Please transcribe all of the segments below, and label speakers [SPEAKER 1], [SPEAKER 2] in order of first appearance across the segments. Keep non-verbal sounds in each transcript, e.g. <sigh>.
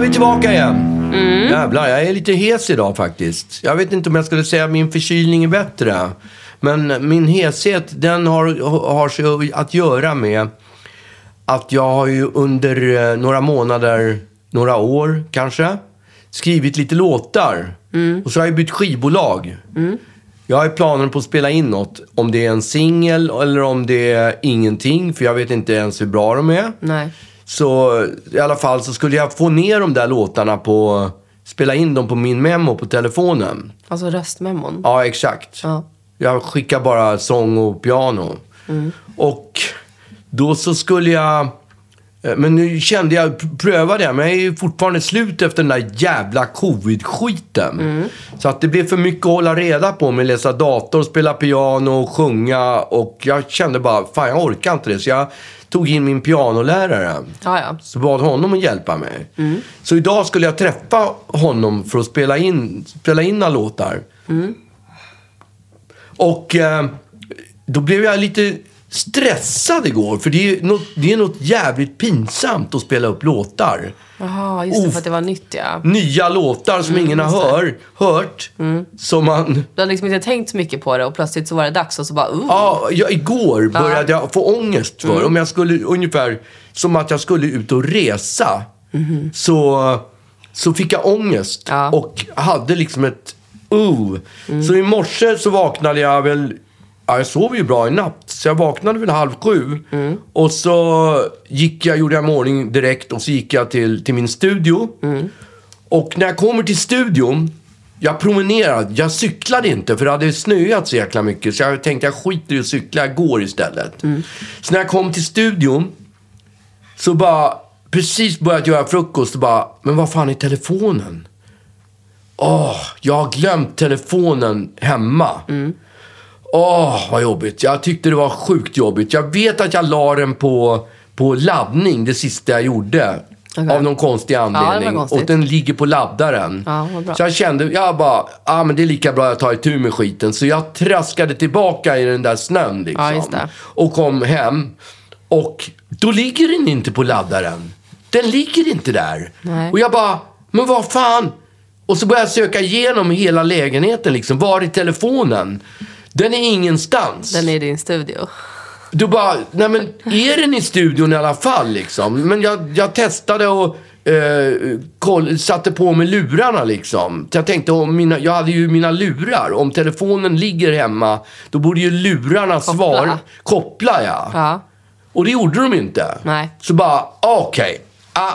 [SPEAKER 1] vi tillbaka igen. Jävlar, jag är lite hes idag faktiskt. Jag vet inte om jag skulle säga att min förkylning är bättre. Men min heshet, den har, har sig att göra med att jag har ju under eh, några månader, några år kanske, skrivit lite låtar. Och så har jag bytt skivbolag. Jag har ju planer på att spela in något. Om det är en singel eller om det är ingenting, för jag vet inte ens hur bra de är.
[SPEAKER 2] Nej.
[SPEAKER 1] Så i alla fall så skulle jag få ner de där låtarna på... Spela in dem på min memo på telefonen.
[SPEAKER 2] Alltså röstmemon.
[SPEAKER 1] Ja, exakt.
[SPEAKER 2] Ja.
[SPEAKER 1] Jag skickar bara sång och piano. Och då så skulle jag... eh, Men nu kände jag, pr- prövade jag, men jag är ju fortfarande slut efter den där jävla covid-skiten. Så att det blev för mycket att hålla reda på med läsa dator, spela piano, sjunga och jag kände bara, fan jag orkar inte det. Så jag tog in min pianolärare.
[SPEAKER 2] Ja, ja.
[SPEAKER 1] Så bad honom att hjälpa mig. Så idag skulle jag träffa honom för att spela in, spela in några låtar. Och eh, då blev jag lite stressad igår. För det är, något, det är något jävligt pinsamt att spela upp låtar.
[SPEAKER 2] Jaha, just det,
[SPEAKER 1] Oof.
[SPEAKER 2] för att det var nytt ja.
[SPEAKER 1] Nya låtar som ingen har hör, hört. Som man...
[SPEAKER 2] Du hade liksom inte tänkt så mycket på det och plötsligt så var det dags och så bara uh.
[SPEAKER 1] Ja, jag, igår
[SPEAKER 2] Ja.
[SPEAKER 1] började jag få ångest för om jag skulle, ungefär som att jag skulle ut och resa. Så, så fick jag ångest
[SPEAKER 2] Ja.
[SPEAKER 1] och hade liksom ett uh. Så i morse så vaknade jag väl, ja, jag sov ju bra i natt, så jag vaknade väl halv sju. Och så gick jag, gjorde jag mig i ordning direkt och så gick jag till, till min studio. Och när jag kommer till studion, jag promenerade, jag cyklade inte för det hade snöat så jäkla mycket. Så jag tänkte jag skiter i att cykla, jag går istället. Så när jag kom till studion så bara, precis börjat göra frukost och bara, men vad fan är telefonen? Åh, jag har glömt telefonen hemma.
[SPEAKER 2] Mm.
[SPEAKER 1] Åh, vad jobbigt. Jag tyckte det var sjukt jobbigt. Jag vet att jag la den på, på laddning, det sista jag gjorde.
[SPEAKER 2] Okej.
[SPEAKER 1] Av någon konstig
[SPEAKER 2] var
[SPEAKER 1] anledning.
[SPEAKER 2] konstigt.
[SPEAKER 1] och den ligger på laddaren.
[SPEAKER 2] Ja, vad bra.
[SPEAKER 1] Så jag kände, jag bara, ah, men det är lika bra jag tar itu med skiten. Så jag traskade tillbaka i den där snön liksom.
[SPEAKER 2] Ja, just det.
[SPEAKER 1] Och kom hem. Och då ligger den inte på laddaren. Den ligger inte där.
[SPEAKER 2] Nej.
[SPEAKER 1] Och jag bara, men vad fan? Och så började jag söka igenom hela lägenheten liksom. Var är telefonen? Den är ingenstans.
[SPEAKER 2] Den är i din studio.
[SPEAKER 1] Du bara, nej men är den i studion i alla fall liksom? Men jag, jag testade och eh, koll, satte på mig lurarna liksom. Jag tänkte, om mina, jag hade ju mina lurar. Om telefonen ligger hemma, då borde ju lurarna svara. Koppla ja.
[SPEAKER 2] Ja.
[SPEAKER 1] Och det gjorde de inte.
[SPEAKER 2] Nej.
[SPEAKER 1] Så bara, okej. Ah,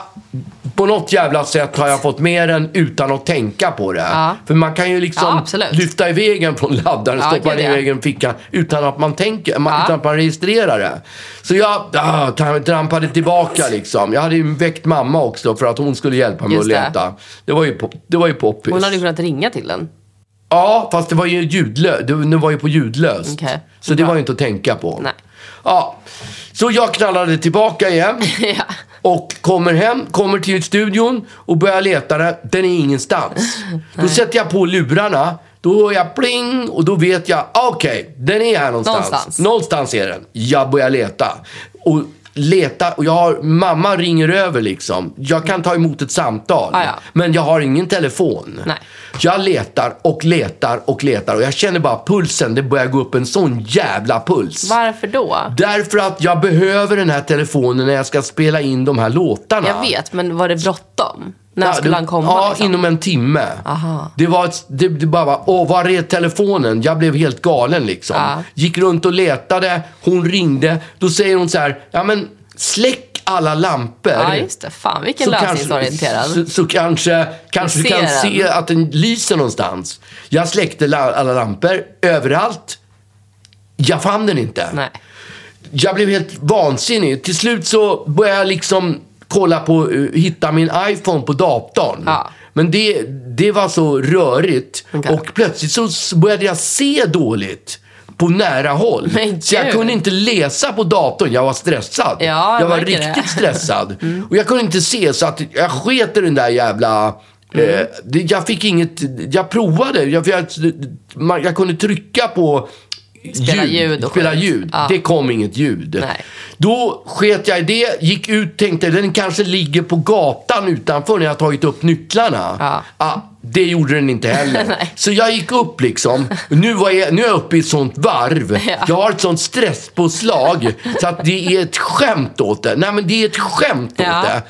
[SPEAKER 1] på något jävla sätt har jag fått med den utan att tänka på det.
[SPEAKER 2] Ja.
[SPEAKER 1] För man kan ju
[SPEAKER 2] Ja,
[SPEAKER 1] liksom
[SPEAKER 2] absolut.
[SPEAKER 1] lyfta iväg den från laddaren,
[SPEAKER 2] Ja,
[SPEAKER 1] stoppa
[SPEAKER 2] gud,
[SPEAKER 1] den i
[SPEAKER 2] ja.
[SPEAKER 1] egen ficka utan att man tänker, man,
[SPEAKER 2] Ja.
[SPEAKER 1] utan att man registrerar det. Så jag ah, tra- trampade tillbaka liksom. Jag hade ju väckt mamma också för att hon skulle hjälpa mig
[SPEAKER 2] Just
[SPEAKER 1] att
[SPEAKER 2] det.
[SPEAKER 1] leta. Det var ju, pop, det var ju poppis.
[SPEAKER 2] Hon hade ju kunnat ringa
[SPEAKER 1] <laughs>
[SPEAKER 2] till den.
[SPEAKER 1] Ja, fast det var ju ljudlöst. Det var ju på ljudlöst.
[SPEAKER 2] Okej.
[SPEAKER 1] Så det var ju inte att tänka på.
[SPEAKER 2] Nej.
[SPEAKER 1] Ja, så jag knallade tillbaka igen.
[SPEAKER 2] ja.
[SPEAKER 1] Och kommer hem, kommer till studion och börjar leta den. Den är ingenstans. Då sätter jag på lurarna. Då hör jag pling och då vet jag, ah, okej, den är här någonstans.
[SPEAKER 2] Någonstans.
[SPEAKER 1] Någonstans är den. Jag börjar leta. Och leta och jag har, mamma ringer över liksom. Jag kan ta emot ett samtal.
[SPEAKER 2] Ah, ja.
[SPEAKER 1] Men jag har ingen telefon.
[SPEAKER 2] Nej.
[SPEAKER 1] Jag letar och letar och letar och jag känner bara pulsen, det börjar gå upp en sån jävla puls.
[SPEAKER 2] Varför då?
[SPEAKER 1] Därför att jag behöver den här telefonen när jag ska spela in de här låtarna.
[SPEAKER 2] Jag vet, men var det bråttom? När
[SPEAKER 1] Ja,
[SPEAKER 2] skulle
[SPEAKER 1] det-
[SPEAKER 2] han komma?
[SPEAKER 1] Ja,
[SPEAKER 2] liksom?
[SPEAKER 1] inom en timme.
[SPEAKER 2] Aha.
[SPEAKER 1] Det var ett, det, det bara var, åh, var är telefonen? Jag blev helt galen liksom.
[SPEAKER 2] Ja.
[SPEAKER 1] Gick runt och letade, hon ringde. Då säger hon så här, ja men släck alla lampor.
[SPEAKER 2] Ja, just det. Fan, vilken lösningsorienterad.
[SPEAKER 1] så, så kanske, kanske du
[SPEAKER 2] ser
[SPEAKER 1] kan
[SPEAKER 2] den.
[SPEAKER 1] se att den lyser någonstans. Jag släckte la, alla lampor överallt. Jag fann den inte.
[SPEAKER 2] Nej.
[SPEAKER 1] Jag blev helt vansinnig. Till slut så började jag liksom kolla på, eh, hitta min iPhone på datorn.
[SPEAKER 2] Ja.
[SPEAKER 1] Men det, det var så rörigt.
[SPEAKER 2] Okej.
[SPEAKER 1] Och plötsligt så s- började jag se dåligt. På nära håll.
[SPEAKER 2] Men
[SPEAKER 1] så jag
[SPEAKER 2] gud.
[SPEAKER 1] kunde inte läsa på datorn. Jag var stressad.
[SPEAKER 2] Ja, jag
[SPEAKER 1] jag var
[SPEAKER 2] märker det. Mm.
[SPEAKER 1] riktigt stressad.
[SPEAKER 2] <laughs>
[SPEAKER 1] Och jag kunde inte se så att jag sket i den där jävla... Eh,
[SPEAKER 2] Mm.
[SPEAKER 1] det, jag fick inget... Jag provade. Jag, för jag, man, jag kunde trycka på
[SPEAKER 2] Spela ljud och
[SPEAKER 1] spela
[SPEAKER 2] skit.
[SPEAKER 1] ljud.
[SPEAKER 2] Ja.
[SPEAKER 1] Det kom inget ljud.
[SPEAKER 2] Nej.
[SPEAKER 1] Då sket jag i det, gick ut, tänkte den kanske ligger på gatan utanför när jag tagit upp nycklarna. Ah,
[SPEAKER 2] Ja.
[SPEAKER 1] det gjorde den inte
[SPEAKER 2] <laughs>
[SPEAKER 1] heller. så jag gick upp liksom. Nu, var jag, nu är jag uppe i ett sånt varv.
[SPEAKER 2] Ja.
[SPEAKER 1] Jag har ett sånt stresspåslag så att det är ett skämt åt det. Nej men det är ett skämt
[SPEAKER 2] Ja.
[SPEAKER 1] åt det.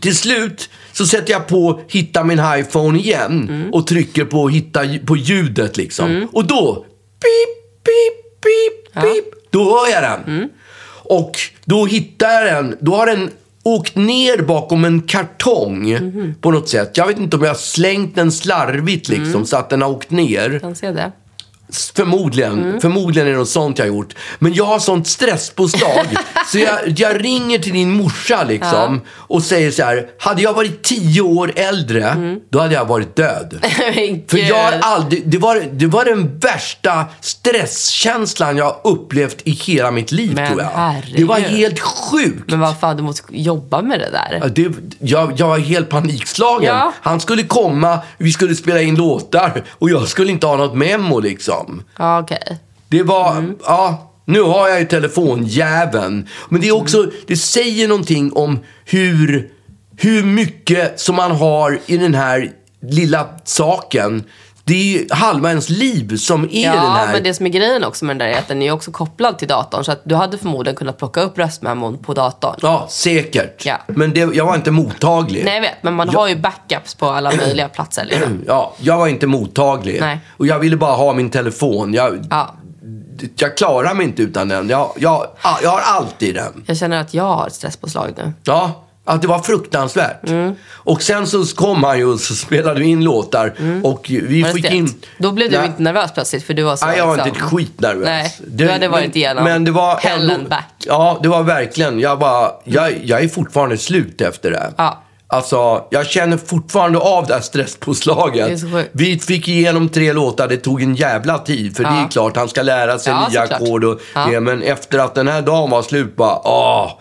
[SPEAKER 1] Till slut så sätter jag på hitta min iPhone igen och trycker på hitta lj- på ljudet liksom. Och då, pip, pip, pip, pip, då hör jag den. Och då hittar jag den, då har den åkt ner bakom en kartong på något sätt. Jag vet inte om jag har slängt den slarvigt liksom så att den har åkt ner.
[SPEAKER 2] Kan se det. <laughs>
[SPEAKER 1] Förmodligen.
[SPEAKER 2] Mm.
[SPEAKER 1] Förmodligen är det något sånt jag har gjort. Men jag har sånt
[SPEAKER 2] <laughs>
[SPEAKER 1] stresspåslag. så jag, jag ringer till din morsa liksom och säger så här. Hade jag varit tio år äldre,
[SPEAKER 2] Mm.
[SPEAKER 1] då hade jag varit
[SPEAKER 2] <laughs>
[SPEAKER 1] död.
[SPEAKER 2] Men
[SPEAKER 1] För jag har
[SPEAKER 2] gud.
[SPEAKER 1] aldrig, det var, det var den värsta stresskänslan jag har upplevt i hela mitt liv
[SPEAKER 2] Men
[SPEAKER 1] tror jag.
[SPEAKER 2] herregud.
[SPEAKER 1] Det var helt sjukt.
[SPEAKER 2] Men vad fan, du måste jobba med det där.
[SPEAKER 1] Ja, Det, jag, jag var helt panikslagen.
[SPEAKER 2] Ja.
[SPEAKER 1] Han skulle komma, vi skulle spela in låtar och jag skulle inte ha något memo liksom.
[SPEAKER 2] Ja, okej.
[SPEAKER 1] Det var,
[SPEAKER 2] Mm.
[SPEAKER 1] ja, nu har jag ju telefonjäveln. Men det är
[SPEAKER 2] Mm.
[SPEAKER 1] också, det säger någonting om hur, hur mycket som man har i den här lilla saken. Det är ju halva ens liv som är den
[SPEAKER 2] Ja,
[SPEAKER 1] här.
[SPEAKER 2] men det som är grejen också med den där är att den är också kopplad till datorn. Så att du hade förmodligen kunnat plocka upp röstmemon på datorn.
[SPEAKER 1] Ja, säkert.
[SPEAKER 2] Ja.
[SPEAKER 1] Men det, jag var inte mottaglig.
[SPEAKER 2] Nej, jag vet. Men man har ju backups på alla möjliga platser. Liksom.
[SPEAKER 1] Ja, jag var inte mottaglig.
[SPEAKER 2] Nej.
[SPEAKER 1] Och jag ville bara ha min telefon. Jag,
[SPEAKER 2] Ja.
[SPEAKER 1] jag klarar mig inte utan den. Jag, jag, jag har alltid den.
[SPEAKER 2] Jag känner att jag har ett stresspåslag nu.
[SPEAKER 1] Ja, att det var fruktansvärt.
[SPEAKER 2] Mm.
[SPEAKER 1] Och sen så kom han ju och så spelade vi in låtar
[SPEAKER 2] Mm.
[SPEAKER 1] och vi
[SPEAKER 2] Var det
[SPEAKER 1] fick
[SPEAKER 2] stelt?
[SPEAKER 1] in...
[SPEAKER 2] Då blev du
[SPEAKER 1] Nej.
[SPEAKER 2] inte nervös plötsligt för du var så
[SPEAKER 1] Nej, jag var
[SPEAKER 2] liksom-
[SPEAKER 1] inte ett skit nervös.
[SPEAKER 2] Nej, du hade varit
[SPEAKER 1] men-
[SPEAKER 2] igenom
[SPEAKER 1] men det var
[SPEAKER 2] hell
[SPEAKER 1] ändå-
[SPEAKER 2] and back.
[SPEAKER 1] Ja, det var verkligen. Jag, bara, jag, jag är fortfarande slut efter det.
[SPEAKER 2] Ja.
[SPEAKER 1] Alltså, jag känner fortfarande av det här
[SPEAKER 2] Det är
[SPEAKER 1] stresspåslaget.
[SPEAKER 2] så sjukt.
[SPEAKER 1] Vi fick igenom tre låtar, det tog en jävla tid. För det
[SPEAKER 2] Ja.
[SPEAKER 1] är klart, han ska lära sig
[SPEAKER 2] Ja,
[SPEAKER 1] nya
[SPEAKER 2] såklart.
[SPEAKER 1] ackord och
[SPEAKER 2] Ja.
[SPEAKER 1] det. Men efter att den här dagen var slut, bara åh.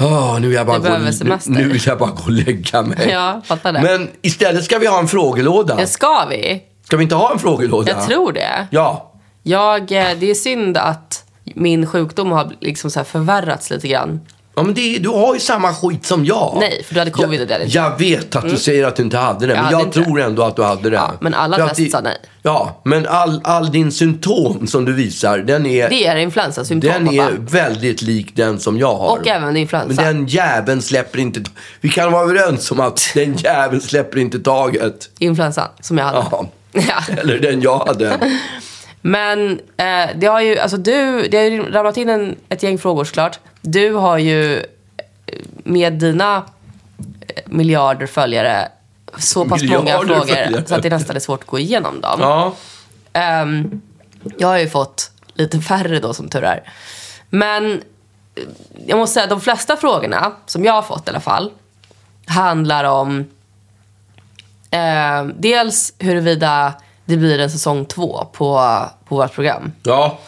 [SPEAKER 1] åh, nu, vill jag bara
[SPEAKER 2] Du
[SPEAKER 1] gå,
[SPEAKER 2] behöver semester.
[SPEAKER 1] nu vill jag bara gå och lägga mig.
[SPEAKER 2] Ja, fattar det.
[SPEAKER 1] Men istället ska vi ha en frågelåda.
[SPEAKER 2] Ja, Ska vi?
[SPEAKER 1] Ska vi inte ha en frågelåda?
[SPEAKER 2] Jag tror det.
[SPEAKER 1] Ja.
[SPEAKER 2] Jag, eh, det är synd att min sjukdom har liksom så här förvärrats lite grann.
[SPEAKER 1] Ja, men det, är- du har ju samma skit som jag.
[SPEAKER 2] Nej, för du hade covid och det hade
[SPEAKER 1] jag,
[SPEAKER 2] inte.
[SPEAKER 1] jag vet att du säger att du inte hade det,
[SPEAKER 2] Jag
[SPEAKER 1] men
[SPEAKER 2] hade
[SPEAKER 1] jag
[SPEAKER 2] inte
[SPEAKER 1] tror ändå att du hade det.
[SPEAKER 2] Ja, men alla
[SPEAKER 1] För att
[SPEAKER 2] test
[SPEAKER 1] det-
[SPEAKER 2] sa nej.
[SPEAKER 1] Ja, men all, all din symptom som du visar, den är,
[SPEAKER 2] Det är influensasymptom,
[SPEAKER 1] den
[SPEAKER 2] pappa.
[SPEAKER 1] är väldigt lik den som jag har.
[SPEAKER 2] Och även
[SPEAKER 1] men
[SPEAKER 2] influensa.
[SPEAKER 1] den jäveln släpper inte... Vi kan vara överens om att den jäveln släpper inte taget.
[SPEAKER 2] Influensan som jag hade.
[SPEAKER 1] Ja.
[SPEAKER 2] <laughs> Ja.
[SPEAKER 1] Eller den jag hade.
[SPEAKER 2] Men eh, det har ju, alltså du, det har ju ramlat in en, ett gäng frågor såklart. Du har ju eh, med dina eh, miljarder följare så pass många
[SPEAKER 1] Miljarder
[SPEAKER 2] frågor
[SPEAKER 1] följare.
[SPEAKER 2] så att det nästan är svårt att gå igenom dem.
[SPEAKER 1] Ja.
[SPEAKER 2] Ehm, jag har ju fått lite färre då som tur är. Men eh, jag måste säga de flesta frågorna, som jag har fått i alla fall, handlar om eh, dels huruvida det blir en säsong två på, på vårt program.
[SPEAKER 1] Ja.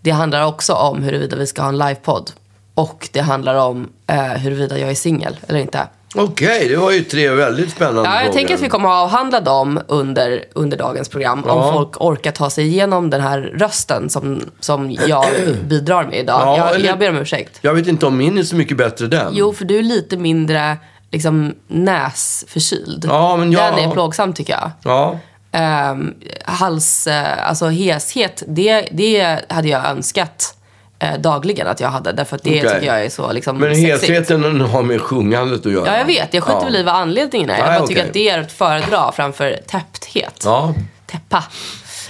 [SPEAKER 2] Det handlar också om huruvida vi ska ha en livepodd. Och det handlar om eh, huruvida jag är singel eller inte.
[SPEAKER 1] Okej, det var ju tre väldigt spännande
[SPEAKER 2] Ja, jag
[SPEAKER 1] frågor.
[SPEAKER 2] tänker att vi kommer att avhandla dem under, under dagens program.
[SPEAKER 1] Ja.
[SPEAKER 2] Om folk orkar ta sig igenom den här rösten som, som
[SPEAKER 1] <clears throat>
[SPEAKER 2] jag bidrar med idag.
[SPEAKER 1] Ja,
[SPEAKER 2] jag,
[SPEAKER 1] eller-
[SPEAKER 2] jag ber om ursäkt.
[SPEAKER 1] Jag vet inte om min är så mycket bättre den.
[SPEAKER 2] Jo, för du är lite mindre liksom, näsförkyld.
[SPEAKER 1] Ja, men jag-
[SPEAKER 2] Den är plågsam tycker jag.
[SPEAKER 1] Ja.
[SPEAKER 2] Ehm, hals, eh, alltså heshet, det, det hade jag önskat eh, dagligen att jag hade. Därför att det
[SPEAKER 1] Okej.
[SPEAKER 2] tycker jag är så liksom,
[SPEAKER 1] Men
[SPEAKER 2] sexigt.
[SPEAKER 1] helheten har med sjungandet att göra.
[SPEAKER 2] Ja, jag vet. Jag skiter väl i vad anledningen är. Jag
[SPEAKER 1] Nej,
[SPEAKER 2] bara tycker
[SPEAKER 1] okej.
[SPEAKER 2] att det är att föredra framför täppthet.
[SPEAKER 1] Ja.
[SPEAKER 2] Täppa.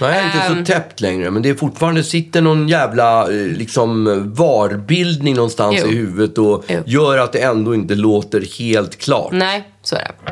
[SPEAKER 1] Nej, jag är inte
[SPEAKER 2] Ehm.
[SPEAKER 1] så täppt längre. Men det är fortfarande sitter någon jävla eh, liksom, varbildning någonstans
[SPEAKER 2] Jo.
[SPEAKER 1] i huvudet och
[SPEAKER 2] Jo.
[SPEAKER 1] gör att det ändå inte låter helt klart.
[SPEAKER 2] Nej, så är det.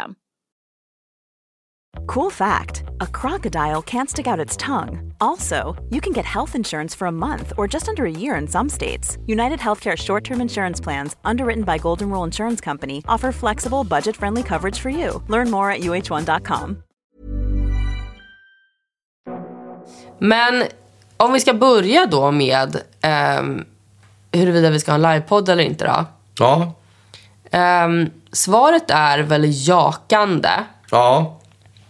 [SPEAKER 3] Cool fact a crocodile can't stick out its tongue. Also, you can get health insurance for a month or just under a year in some states. United Healthcare short term insurance plans, underwritten by Golden Rule Insurance Company, offer flexible, budget friendly coverage for you. Learn more at uh1.com.
[SPEAKER 2] Men om vi ska börja då med um, huruvida vi ska ha en livepodd eller inte då.
[SPEAKER 1] Ja.
[SPEAKER 2] Ehm, svaret är väl jakande.
[SPEAKER 1] Ja.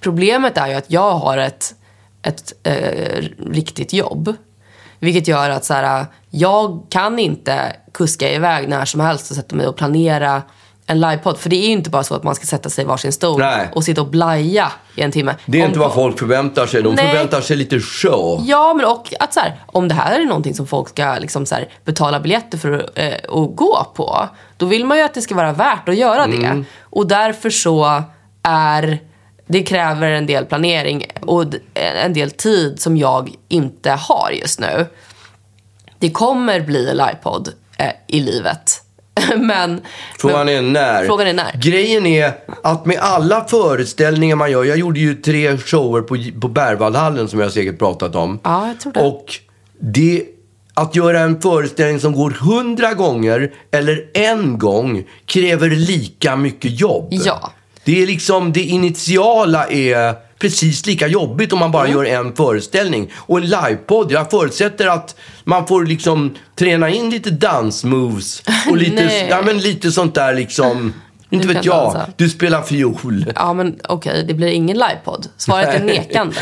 [SPEAKER 2] Problemet är ju att jag har ett, ett eh, riktigt jobb. Vilket gör att så här, jag kan inte kuska iväg när som helst och sätta mig och planera en livepodd. För det är ju inte bara så att man ska sätta sig i varsin stol
[SPEAKER 1] Nej.
[SPEAKER 2] och sitta och blaja i en timme.
[SPEAKER 1] Det är
[SPEAKER 2] Om-
[SPEAKER 1] inte vad folk förväntar sig. De
[SPEAKER 2] Nej.
[SPEAKER 1] förväntar sig lite show.
[SPEAKER 2] Ja, men och att så här, om det här är någonting som folk ska liksom så här, betala biljetter för att, eh, att gå på, då vill man ju att det ska vara värt att göra det. Och därför så är det kräver en del planering och d- eh, en del tid som jag inte har just nu. Det kommer bli en livepodd eh, i livet. <laughs> men,
[SPEAKER 1] Frågan är när.
[SPEAKER 2] Frågan är när.
[SPEAKER 1] Grejen är att med alla föreställningar man gör. Jag gjorde ju tre shower på, på Berwaldhallen som jag säkert pratat om.
[SPEAKER 2] Ja, jag tror det.
[SPEAKER 1] Och det, att göra en föreställning som går hundra gånger eller en gång kräver lika mycket jobb.
[SPEAKER 2] Ja.
[SPEAKER 1] Det är liksom det initiala är precis lika jobbigt om man
[SPEAKER 2] Mm.
[SPEAKER 1] bara gör en föreställning. Och en livepodd, jag förutsätter att man får liksom träna in lite dansmoves och lite,
[SPEAKER 2] Nej.
[SPEAKER 1] ja, men lite sånt där liksom. Inte
[SPEAKER 2] Du
[SPEAKER 1] vet
[SPEAKER 2] kan
[SPEAKER 1] jag,
[SPEAKER 2] dansa.
[SPEAKER 1] du spelar fiol.
[SPEAKER 2] Ja, men okej, det blir ingen livepodd. Svaret
[SPEAKER 1] <laughs>
[SPEAKER 2] är nekande.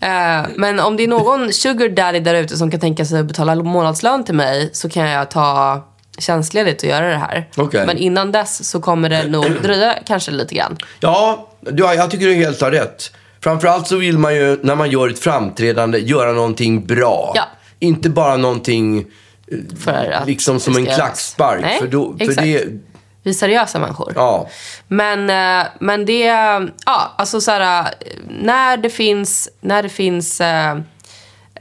[SPEAKER 2] Eh, men om det är någon sugar daddy där ute som kan tänka sig att betala månadslön till mig så kan jag ta tjänstledigt och göra det här.
[SPEAKER 1] Okej.
[SPEAKER 2] Men innan dess så kommer det nog dröja kanske lite grann.
[SPEAKER 1] Ja, du, har- jag tycker du helt har rätt. Framförallt så vill man ju när man gör ett framträdande göra någonting bra.
[SPEAKER 2] Ja.
[SPEAKER 1] Inte bara någonting eh,
[SPEAKER 2] För att
[SPEAKER 1] liksom som
[SPEAKER 2] det
[SPEAKER 1] en
[SPEAKER 2] ska göras.
[SPEAKER 1] klackspark.
[SPEAKER 2] Nej,
[SPEAKER 1] för då, för
[SPEAKER 2] exakt.
[SPEAKER 1] det,
[SPEAKER 2] Vi är seriösa människor.
[SPEAKER 1] ja.
[SPEAKER 2] Men, eh, men det... Ja, alltså så här, eh, när det finns, när det finns eh,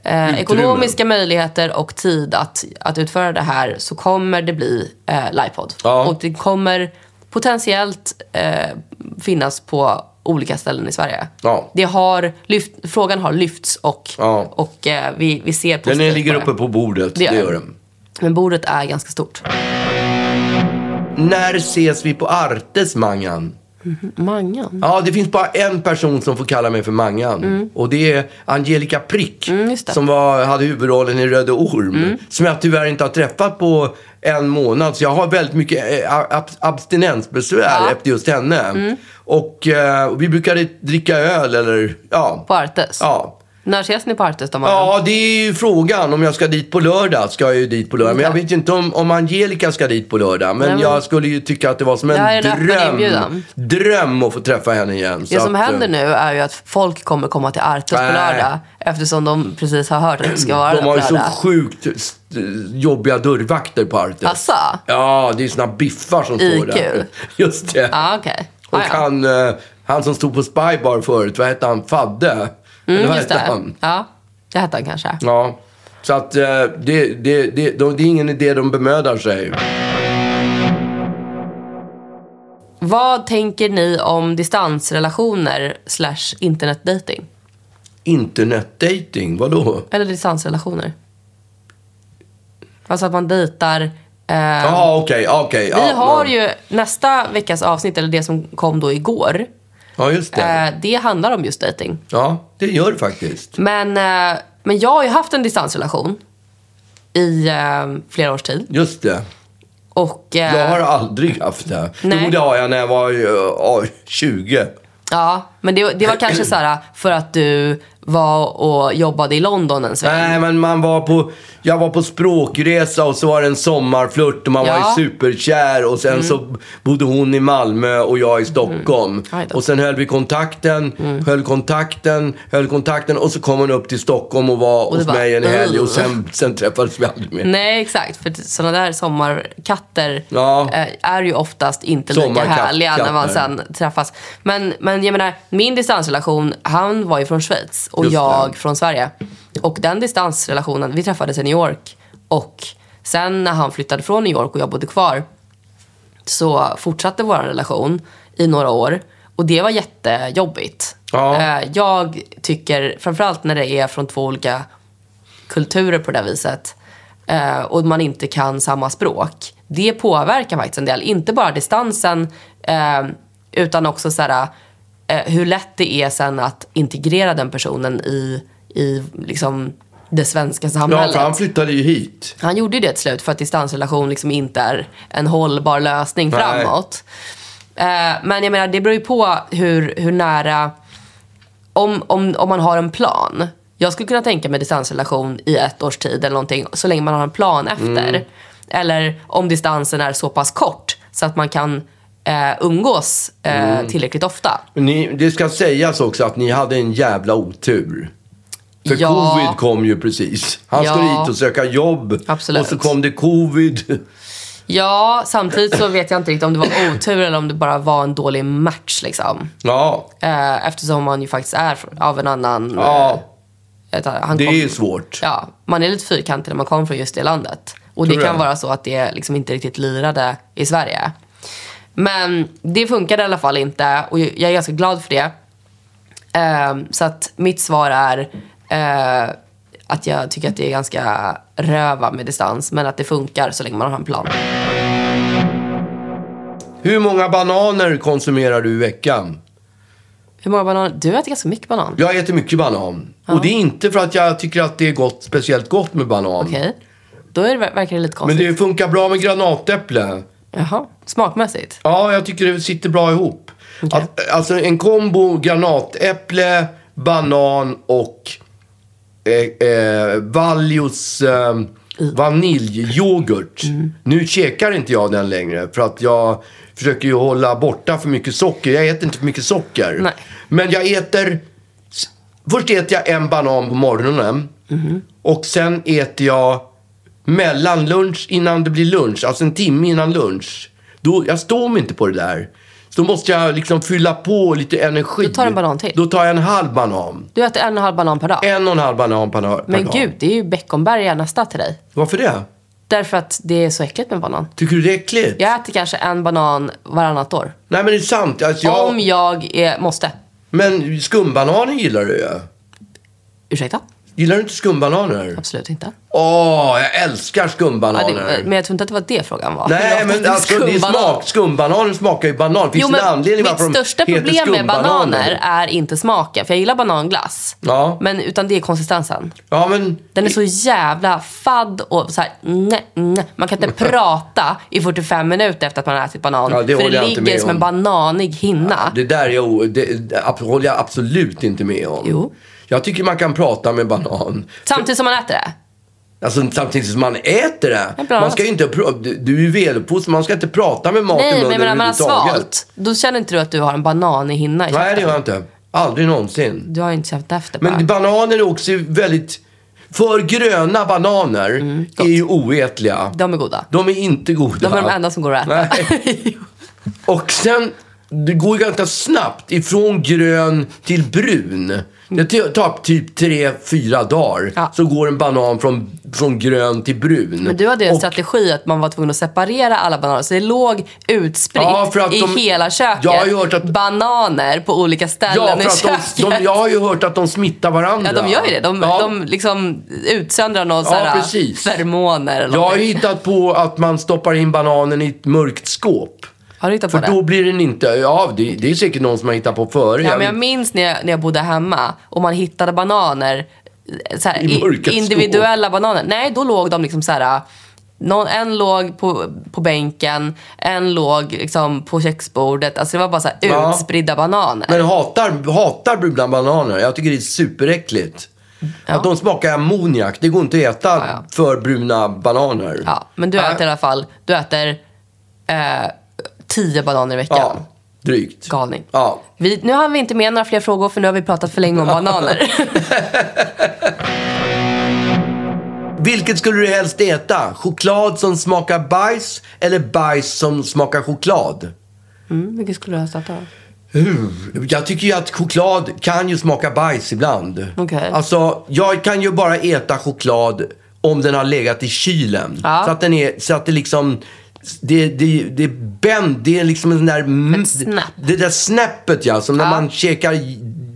[SPEAKER 2] eh, ekonomiska möjligheter och tid att, att utföra det här så kommer det bli eh, livepodd.
[SPEAKER 1] Ja.
[SPEAKER 2] Och det kommer potentiellt eh, finnas på olika ställen i Sverige.
[SPEAKER 1] Ja.
[SPEAKER 2] Det har lyft, frågan har lyfts och,
[SPEAKER 1] Ja.
[SPEAKER 2] och eh, vi, vi ser
[SPEAKER 1] Den
[SPEAKER 2] positivt
[SPEAKER 1] ligger
[SPEAKER 2] på det.
[SPEAKER 1] uppe på bordet, det
[SPEAKER 2] Det
[SPEAKER 1] gör,
[SPEAKER 2] gör
[SPEAKER 1] den.
[SPEAKER 2] Men bordet är ganska stort.
[SPEAKER 1] När ses vi på Artes, Mangan?
[SPEAKER 2] Mangan?
[SPEAKER 1] Ja, det finns bara en person som får kalla mig för Mangan. Och det är Angelica Prick.
[SPEAKER 2] Mm. just det. Mm.
[SPEAKER 1] som var, hade huvudrollen i Röde Orm. Som jag tyvärr inte har träffat på en månad. Så jag har väldigt mycket eh, ab abstinensbesvär
[SPEAKER 2] Ja. Mm.
[SPEAKER 1] efter just henne. Och eh, vi brukade dricka öl eller ja.
[SPEAKER 2] På Artes?
[SPEAKER 1] Ja.
[SPEAKER 2] När ses ni på Artes då, Mangan?
[SPEAKER 1] Ja, det är ju frågan. Om jag ska dit på lördag ska jag ju dit på lördag. Men jag
[SPEAKER 2] Okej.
[SPEAKER 1] vet ju inte om, om Angelica ska dit på lördag. Men
[SPEAKER 2] Nej, men-
[SPEAKER 1] jag skulle ju tycka att det var som
[SPEAKER 2] Det här
[SPEAKER 1] en
[SPEAKER 2] är en öppen
[SPEAKER 1] dröm.
[SPEAKER 2] inbjudan.
[SPEAKER 1] Dröm att få träffa henne igen.
[SPEAKER 2] Det som
[SPEAKER 1] eh,
[SPEAKER 2] händer nu är ju att folk kommer komma till Artes
[SPEAKER 1] Nej.
[SPEAKER 2] på lördag eftersom de precis har hört att det ska vara
[SPEAKER 1] Äh. De
[SPEAKER 2] där
[SPEAKER 1] har
[SPEAKER 2] på
[SPEAKER 1] ju så
[SPEAKER 2] lördag.
[SPEAKER 1] sjukt st- jobbiga dörrvakter på Artes.
[SPEAKER 2] Asså?
[SPEAKER 1] Ja, det är såna biffar som står där.
[SPEAKER 2] IQ.
[SPEAKER 1] <laughs> Just det.
[SPEAKER 2] Ja, okej.
[SPEAKER 1] Och
[SPEAKER 2] Ah, ja.
[SPEAKER 1] han, eh, han som stod på Spybar förut, vad hette han? Fadde? Eller
[SPEAKER 2] Mm,
[SPEAKER 1] vad
[SPEAKER 2] just
[SPEAKER 1] hette
[SPEAKER 2] det.
[SPEAKER 1] han?
[SPEAKER 2] Ja, det hette han kanske.
[SPEAKER 1] Ja. Så att eh, det, det, det, de, det är ingen idé de bemödar sig.
[SPEAKER 2] Vad tänker ni om distansrelationer slash internetdating?
[SPEAKER 1] Internetdating, vadå?
[SPEAKER 2] Eller distansrelationer? Alltså att man dejtar... Eh,
[SPEAKER 1] Ja, okej, okej.
[SPEAKER 2] vi
[SPEAKER 1] ja,
[SPEAKER 2] har
[SPEAKER 1] ja.
[SPEAKER 2] ju nästa veckas avsnitt, eller det som kom då igår.
[SPEAKER 1] Ja, just det.
[SPEAKER 2] Eh, det handlar om just dating.
[SPEAKER 1] Ja, det gör det faktiskt.
[SPEAKER 2] Men, eh, men jag har ju haft en distansrelation i eh, flera års tid.
[SPEAKER 1] Just det.
[SPEAKER 2] Och, eh,
[SPEAKER 1] Jag har aldrig haft det.
[SPEAKER 2] Nej.
[SPEAKER 1] Jo, det har jag när jag var eh, ja, 20.
[SPEAKER 2] ja, men det, det var kanske så här för att du var och jobbade i London en sväng.
[SPEAKER 1] Nej, men man var på, jag var på språkresa och så var det en sommarflört och man var
[SPEAKER 2] Ja. Mm.
[SPEAKER 1] ju superkär och sen så bodde hon i Malmö och jag i Stockholm.
[SPEAKER 2] Mm. Aj då. Mm.
[SPEAKER 1] Och sen höll vi kontakten, höll kontakten, höll kontakten och så kom hon upp till Stockholm och var
[SPEAKER 2] det
[SPEAKER 1] hos
[SPEAKER 2] bara,
[SPEAKER 1] mig en helg och
[SPEAKER 2] "Ugh." Mm.
[SPEAKER 1] sen, sen träffades vi aldrig mer.
[SPEAKER 2] Nej, exakt. För sådana där sommarkatter
[SPEAKER 1] Ja.
[SPEAKER 2] eh, är ju oftast inte lika
[SPEAKER 1] Sommarkatt-
[SPEAKER 2] härliga när man
[SPEAKER 1] katter.
[SPEAKER 2] sen träffas. Men, men jag menar, min distansrelation, han var ju från Schweiz och
[SPEAKER 1] Just det.
[SPEAKER 2] jag från Sverige. Och den distansrelationen, vi träffades i New York. Och sen när han flyttade från New York och jag bodde kvar så fortsatte vår relation i några år. Och det var jättejobbigt.
[SPEAKER 1] Ja.
[SPEAKER 2] Eh, Jag tycker, framförallt när det är från två olika kulturer på det där viset eh, och man inte kan samma språk. Det påverkar faktiskt en del. Inte bara distansen eh, utan också så här, eh, hur lätt det är sen att integrera den personen i, i liksom det svenska
[SPEAKER 1] Ja,
[SPEAKER 2] samhället.
[SPEAKER 1] för han flyttade ju hit.
[SPEAKER 2] Han gjorde ju det till slut för att distansrelation liksom inte är en hållbar lösning
[SPEAKER 1] Nej.
[SPEAKER 2] framåt. Eh, men jag menar, det beror ju på hur, hur nära... Om, om, om man har en plan. Jag skulle kunna tänka mig distansrelation i ett års tid eller någonting, så länge man har en plan efter. Eller om distansen är så pass kort så att man kan eh, umgås eh, tillräckligt ofta.
[SPEAKER 1] Men Ni, det ska sägas också att ni hade en jävla otur. För
[SPEAKER 2] Ja.
[SPEAKER 1] covid kom ju precis. Han
[SPEAKER 2] Ja.
[SPEAKER 1] skulle hit och söka jobb.
[SPEAKER 2] Absolut.
[SPEAKER 1] Och så kom det covid.
[SPEAKER 2] Ja, samtidigt så vet jag inte riktigt om det var otur eller om det bara var en dålig match. Liksom.
[SPEAKER 1] Ja,
[SPEAKER 2] Eh, eftersom man ju faktiskt är fr- av en annan...
[SPEAKER 1] ja
[SPEAKER 2] eh, ett- han
[SPEAKER 1] det
[SPEAKER 2] kom-
[SPEAKER 1] är svårt.
[SPEAKER 2] Ja, man är lite fyrkantig när man kommer från just det landet.
[SPEAKER 1] Tror
[SPEAKER 2] Och det
[SPEAKER 1] du
[SPEAKER 2] kan
[SPEAKER 1] det?
[SPEAKER 2] vara så att det liksom inte riktigt lirade i Sverige. Men det funkade i alla fall inte och jag är ganska glad för det. Ehm, så att mitt svar är eh, att jag tycker att det är ganska röva med distans men att det funkar så länge man har en plan.
[SPEAKER 1] Hur många bananer konsumerar du i veckan?
[SPEAKER 2] Hur många bananer? Du äter ganska mycket banan.
[SPEAKER 1] Jag äter mycket banan. Och det är inte för att jag tycker att det är gott, speciellt gott med banan.
[SPEAKER 2] Okej. Då är det, verkar det lite
[SPEAKER 1] Men
[SPEAKER 2] konstigt.
[SPEAKER 1] det funkar bra med granatäpple.
[SPEAKER 2] Jaha, smakmässigt.
[SPEAKER 1] Ja, jag tycker det sitter bra ihop. Att, alltså en kombo granatäpple, banan och eh, eh, Valios eh, vaniljyoghurt. Nu käkar inte jag den längre för att jag försöker ju hålla borta för mycket socker. Jag äter inte för mycket socker.
[SPEAKER 2] Nej.
[SPEAKER 1] Men jag äter... s- Först äter jag en banan på morgonen.
[SPEAKER 2] Mhm.
[SPEAKER 1] Och sen äter jag mellan lunch, innan det blir lunch. Alltså en timme innan lunch. Då, jag står mig inte på det där. Så då måste jag liksom fylla på lite energi.
[SPEAKER 2] Då tar du en banan till.
[SPEAKER 1] Då tar jag en halv banan.
[SPEAKER 2] Du äter en och en halv banan per dag.
[SPEAKER 1] En och en halv banan per dag.
[SPEAKER 2] Men gud, det är ju Beckomberga nästa till dig.
[SPEAKER 1] Varför det?
[SPEAKER 2] Därför att det är så äckligt med banan.
[SPEAKER 1] Tycker du det är äckligt?
[SPEAKER 2] Jag äter kanske en banan varannat år.
[SPEAKER 1] Nej men det är sant. Alltså, jag...
[SPEAKER 2] Om jag är, måste.
[SPEAKER 1] Men skumbananer gillar du ju.
[SPEAKER 2] Ursäkta?
[SPEAKER 1] Gillar du inte skumbananer?
[SPEAKER 2] Absolut inte.
[SPEAKER 1] Åh, jag älskar
[SPEAKER 2] Ja,
[SPEAKER 1] skumbananer.
[SPEAKER 2] det, men jag tror inte att det var det frågan var. Jag
[SPEAKER 1] Nej,
[SPEAKER 2] åt
[SPEAKER 1] men
[SPEAKER 2] inte
[SPEAKER 1] alltså det är
[SPEAKER 2] skumbanan.
[SPEAKER 1] smak. Skumbananer smakar ju banan. Finns
[SPEAKER 2] Jo,
[SPEAKER 1] det en
[SPEAKER 2] men
[SPEAKER 1] anledning
[SPEAKER 2] mitt
[SPEAKER 1] varför de
[SPEAKER 2] största
[SPEAKER 1] heter
[SPEAKER 2] problem med
[SPEAKER 1] skumbananer?
[SPEAKER 2] bananer är inte smaken. För jag gillar bananglass.
[SPEAKER 1] Ja.
[SPEAKER 2] Men utan det är konsistensen.
[SPEAKER 1] Ja, men...
[SPEAKER 2] Den är så jävla fadd och så här, nej, nej. Man kan inte prata i 45 minuter efter att man har ätit banan.
[SPEAKER 1] Ja, det
[SPEAKER 2] för
[SPEAKER 1] håller
[SPEAKER 2] det
[SPEAKER 1] jag inte
[SPEAKER 2] ligger
[SPEAKER 1] med
[SPEAKER 2] som
[SPEAKER 1] om.
[SPEAKER 2] en bananig hinna.
[SPEAKER 1] Det där är jag, o- det, det ab- håller jag absolut inte med om.
[SPEAKER 2] Jo.
[SPEAKER 1] Jag tycker man kan prata med banan.
[SPEAKER 2] Samtidigt som man äter det.
[SPEAKER 1] Alltså samtidigt som man äter det.
[SPEAKER 2] bra.
[SPEAKER 1] Man ska ju inte... pr- Du, du är ju väluppfostrad. Man ska inte prata med maten
[SPEAKER 2] Nej, men jag
[SPEAKER 1] under
[SPEAKER 2] menar man har
[SPEAKER 1] överhuvudtaget.
[SPEAKER 2] svalt. Då känner inte du att du har en banan i hinna i
[SPEAKER 1] Nej, det
[SPEAKER 2] käften?
[SPEAKER 1] gör jag inte. Aldrig någonsin.
[SPEAKER 2] Du har ju inte känt efter bara.
[SPEAKER 1] Men bananer är också väldigt... För gröna bananer är ju oätliga.
[SPEAKER 2] De är goda.
[SPEAKER 1] De är inte goda.
[SPEAKER 2] Mm, De är de enda som går att äta.
[SPEAKER 1] Nej. Och sen, det går ju ganska snabbt ifrån grön till brun. Det ty- tar typ tre, fyra dagar.
[SPEAKER 2] Mm. Ja.
[SPEAKER 1] Så går en banan från, från grön till brun.
[SPEAKER 2] <laughs> Men du hade ju en
[SPEAKER 1] Och-
[SPEAKER 2] strategi att man var tvungen att separera alla bananer. Så det låg utspritt
[SPEAKER 1] Ja, för att
[SPEAKER 2] i
[SPEAKER 1] de-
[SPEAKER 2] hela köket.
[SPEAKER 1] Jag har ju hört att-
[SPEAKER 2] Bananer på olika ställen
[SPEAKER 1] Ja,
[SPEAKER 2] i
[SPEAKER 1] för
[SPEAKER 2] köket.
[SPEAKER 1] att de, de, jag har ju hört att de smittar varandra.
[SPEAKER 2] Ja, de gör ju det. De,
[SPEAKER 1] Ja.
[SPEAKER 2] de liksom utsöndrar någon
[SPEAKER 1] Ja,
[SPEAKER 2] sån här
[SPEAKER 1] precis.
[SPEAKER 2] feromoner eller
[SPEAKER 1] Jag har
[SPEAKER 2] någonting.
[SPEAKER 1] hittat på att man stoppar in bananen i ett mörkt skåp.
[SPEAKER 2] Har du hittat på
[SPEAKER 1] För
[SPEAKER 2] det?
[SPEAKER 1] då blir den inte... Ja, det, det är säkert någon som har hittat på före.
[SPEAKER 2] Ja,
[SPEAKER 1] Jag
[SPEAKER 2] men jag
[SPEAKER 1] vet-
[SPEAKER 2] minns när jag, när jag bodde hemma och man hittade bananer. eh, Så här,
[SPEAKER 1] I
[SPEAKER 2] i
[SPEAKER 1] mörka
[SPEAKER 2] individuella bananer. Nej, då låg de liksom så här Någon, en låg på, på bänken, en låg liksom, på köksbordet. Alltså det var bara så här
[SPEAKER 1] Ja.
[SPEAKER 2] utspridda bananer.
[SPEAKER 1] Men hatar, hatar bruna bananer. Jag tycker det är superäckligt. Att de smakar ammoniak. Det går inte att äta
[SPEAKER 2] ja.
[SPEAKER 1] för bruna bananer.
[SPEAKER 2] Ja, men du
[SPEAKER 1] Nej.
[SPEAKER 2] äter i alla fall du äter, eh, tio bananer i veckan.
[SPEAKER 1] Ja, drygt.
[SPEAKER 2] Galning.
[SPEAKER 1] Ja.
[SPEAKER 2] Vi, nu har vi inte med några fler frågor för nu har vi pratat
[SPEAKER 1] <laughs>
[SPEAKER 2] för länge om bananer.
[SPEAKER 1] Vilket skulle du helst äta? Choklad som smakar bajs eller bajs som smakar choklad?
[SPEAKER 2] mm, vilket skulle du ha startat?
[SPEAKER 1] Uh, Jag tycker ju att choklad kan ju smaka bajs ibland.
[SPEAKER 2] Okej.
[SPEAKER 1] Alltså, jag kan ju bara äta choklad om den har legat i kylen.
[SPEAKER 2] Ja.
[SPEAKER 1] Så att den är, så att det liksom, det, det, det är bänd, det är liksom en sån där... mm,
[SPEAKER 2] Ett snäpp.
[SPEAKER 1] Det där snäppet ja, som när
[SPEAKER 2] Ja.
[SPEAKER 1] man käkar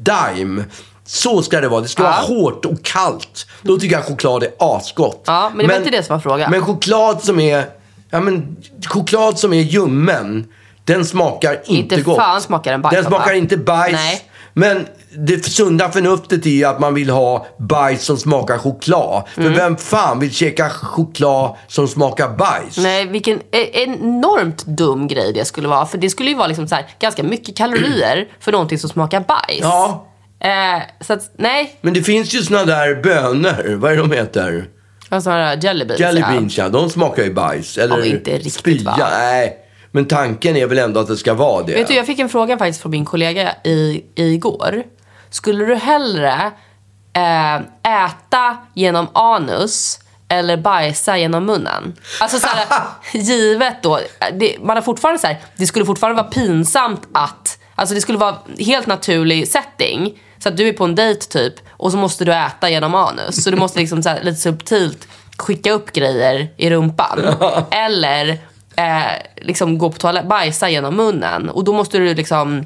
[SPEAKER 1] Dime. Så ska det vara. Det ska vara hårt och kallt. Då tycker jag choklad är asgott.
[SPEAKER 2] Ja, men det var inte det som var frågan.
[SPEAKER 1] Men choklad som är, ja men choklad som är ljummen, den smakar inte,
[SPEAKER 2] Inte
[SPEAKER 1] gott.
[SPEAKER 2] fan smakar den bajs,
[SPEAKER 1] Den smakar
[SPEAKER 2] pappa.
[SPEAKER 1] inte bajs.
[SPEAKER 2] Nej.
[SPEAKER 1] Men det sunda förnuftet är ju att man vill ha bajs som smakar choklad.
[SPEAKER 2] Mm.
[SPEAKER 1] För vem fan vill käka choklad som smakar bajs?
[SPEAKER 2] Nej, vilken e- enormt dum grej det skulle vara. För det skulle ju vara liksom så här, ganska mycket kalorier för någonting som smakar bajs.
[SPEAKER 1] Ja.
[SPEAKER 2] Eh, så att, nej.
[SPEAKER 1] Men det finns ju såna där bönor, vad är de heter?
[SPEAKER 2] Alltså några jelly beans.
[SPEAKER 1] Jelly
[SPEAKER 2] ja.
[SPEAKER 1] beans ja, de smakar ju bajs. Eller
[SPEAKER 2] men inte riktigt,
[SPEAKER 1] spya.
[SPEAKER 2] va?
[SPEAKER 1] Nej, men tanken är väl ändå att det ska vara det.
[SPEAKER 2] Vet du, jag fick en fråga faktiskt från min kollega i, igår. Skulle du hellre eh, äta genom anus eller bajsa genom munnen? Alltså så här,
[SPEAKER 1] <laughs>
[SPEAKER 2] givet då, det, man har fortfarande så här, det skulle fortfarande vara pinsamt att, alltså det skulle vara helt naturlig setting. Så att du är på en dejt typ och så måste du äta genom anus. Så du måste liksom så här, lite subtilt skicka upp grejer
[SPEAKER 1] <laughs>
[SPEAKER 2] i rumpan. Eller eh, liksom gå på toaletten, bajsa genom munnen. Och då måste du liksom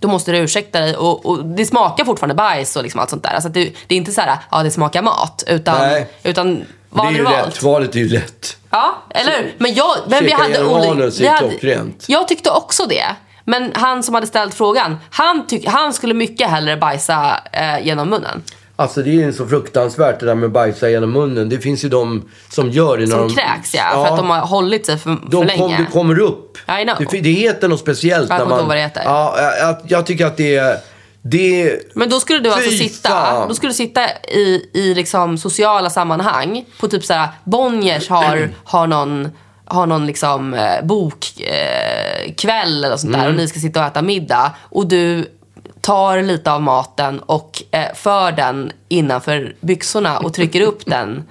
[SPEAKER 2] då måste du ursäkta dig och, och det smakar fortfarande bajs och liksom allt sånt där. Alltså att det, det är inte så här, ja det smakar mat. Utan,
[SPEAKER 1] Nej.
[SPEAKER 2] utan
[SPEAKER 1] det
[SPEAKER 2] vad
[SPEAKER 1] är
[SPEAKER 2] har du
[SPEAKER 1] ju
[SPEAKER 2] valt?
[SPEAKER 1] rätt, valet är ju rätt.
[SPEAKER 2] Ja, eller hur? Men jag, men vi
[SPEAKER 1] Käka
[SPEAKER 2] hade
[SPEAKER 1] genom
[SPEAKER 2] oli-
[SPEAKER 1] anus är
[SPEAKER 2] vi hade-
[SPEAKER 1] klockrent.
[SPEAKER 2] Jag tyckte också det. Men han som hade ställt frågan, han, tyck, han skulle mycket hellre bajsa eh, genom munnen.
[SPEAKER 1] Alltså det är ju så fruktansvärt det där med bajsa genom munnen. Det finns ju de som gör det när
[SPEAKER 2] Som
[SPEAKER 1] de...
[SPEAKER 2] kräks ja, för att de har hållit sig för,
[SPEAKER 1] de
[SPEAKER 2] för
[SPEAKER 1] kom,
[SPEAKER 2] länge.
[SPEAKER 1] Det kommer upp.
[SPEAKER 2] I know.
[SPEAKER 1] Det, fi- det heter något speciellt.
[SPEAKER 2] Jag
[SPEAKER 1] när
[SPEAKER 2] kommer
[SPEAKER 1] man,
[SPEAKER 2] inte ihåg vad det heter.
[SPEAKER 1] Ja, jag, jag tycker att det är... Det är
[SPEAKER 2] Men då skulle du alltså
[SPEAKER 1] Fy
[SPEAKER 2] sitta,
[SPEAKER 1] fan.
[SPEAKER 2] då skulle du sitta i, i liksom sociala sammanhang på typ såhär, Bonniers har, har någon, har någon liksom eh, bokkväll eh, kväll eller sånt där
[SPEAKER 1] Mm.
[SPEAKER 2] och ni ska sitta och äta middag och du tar lite av maten och eh, för den innanför byxorna och trycker upp den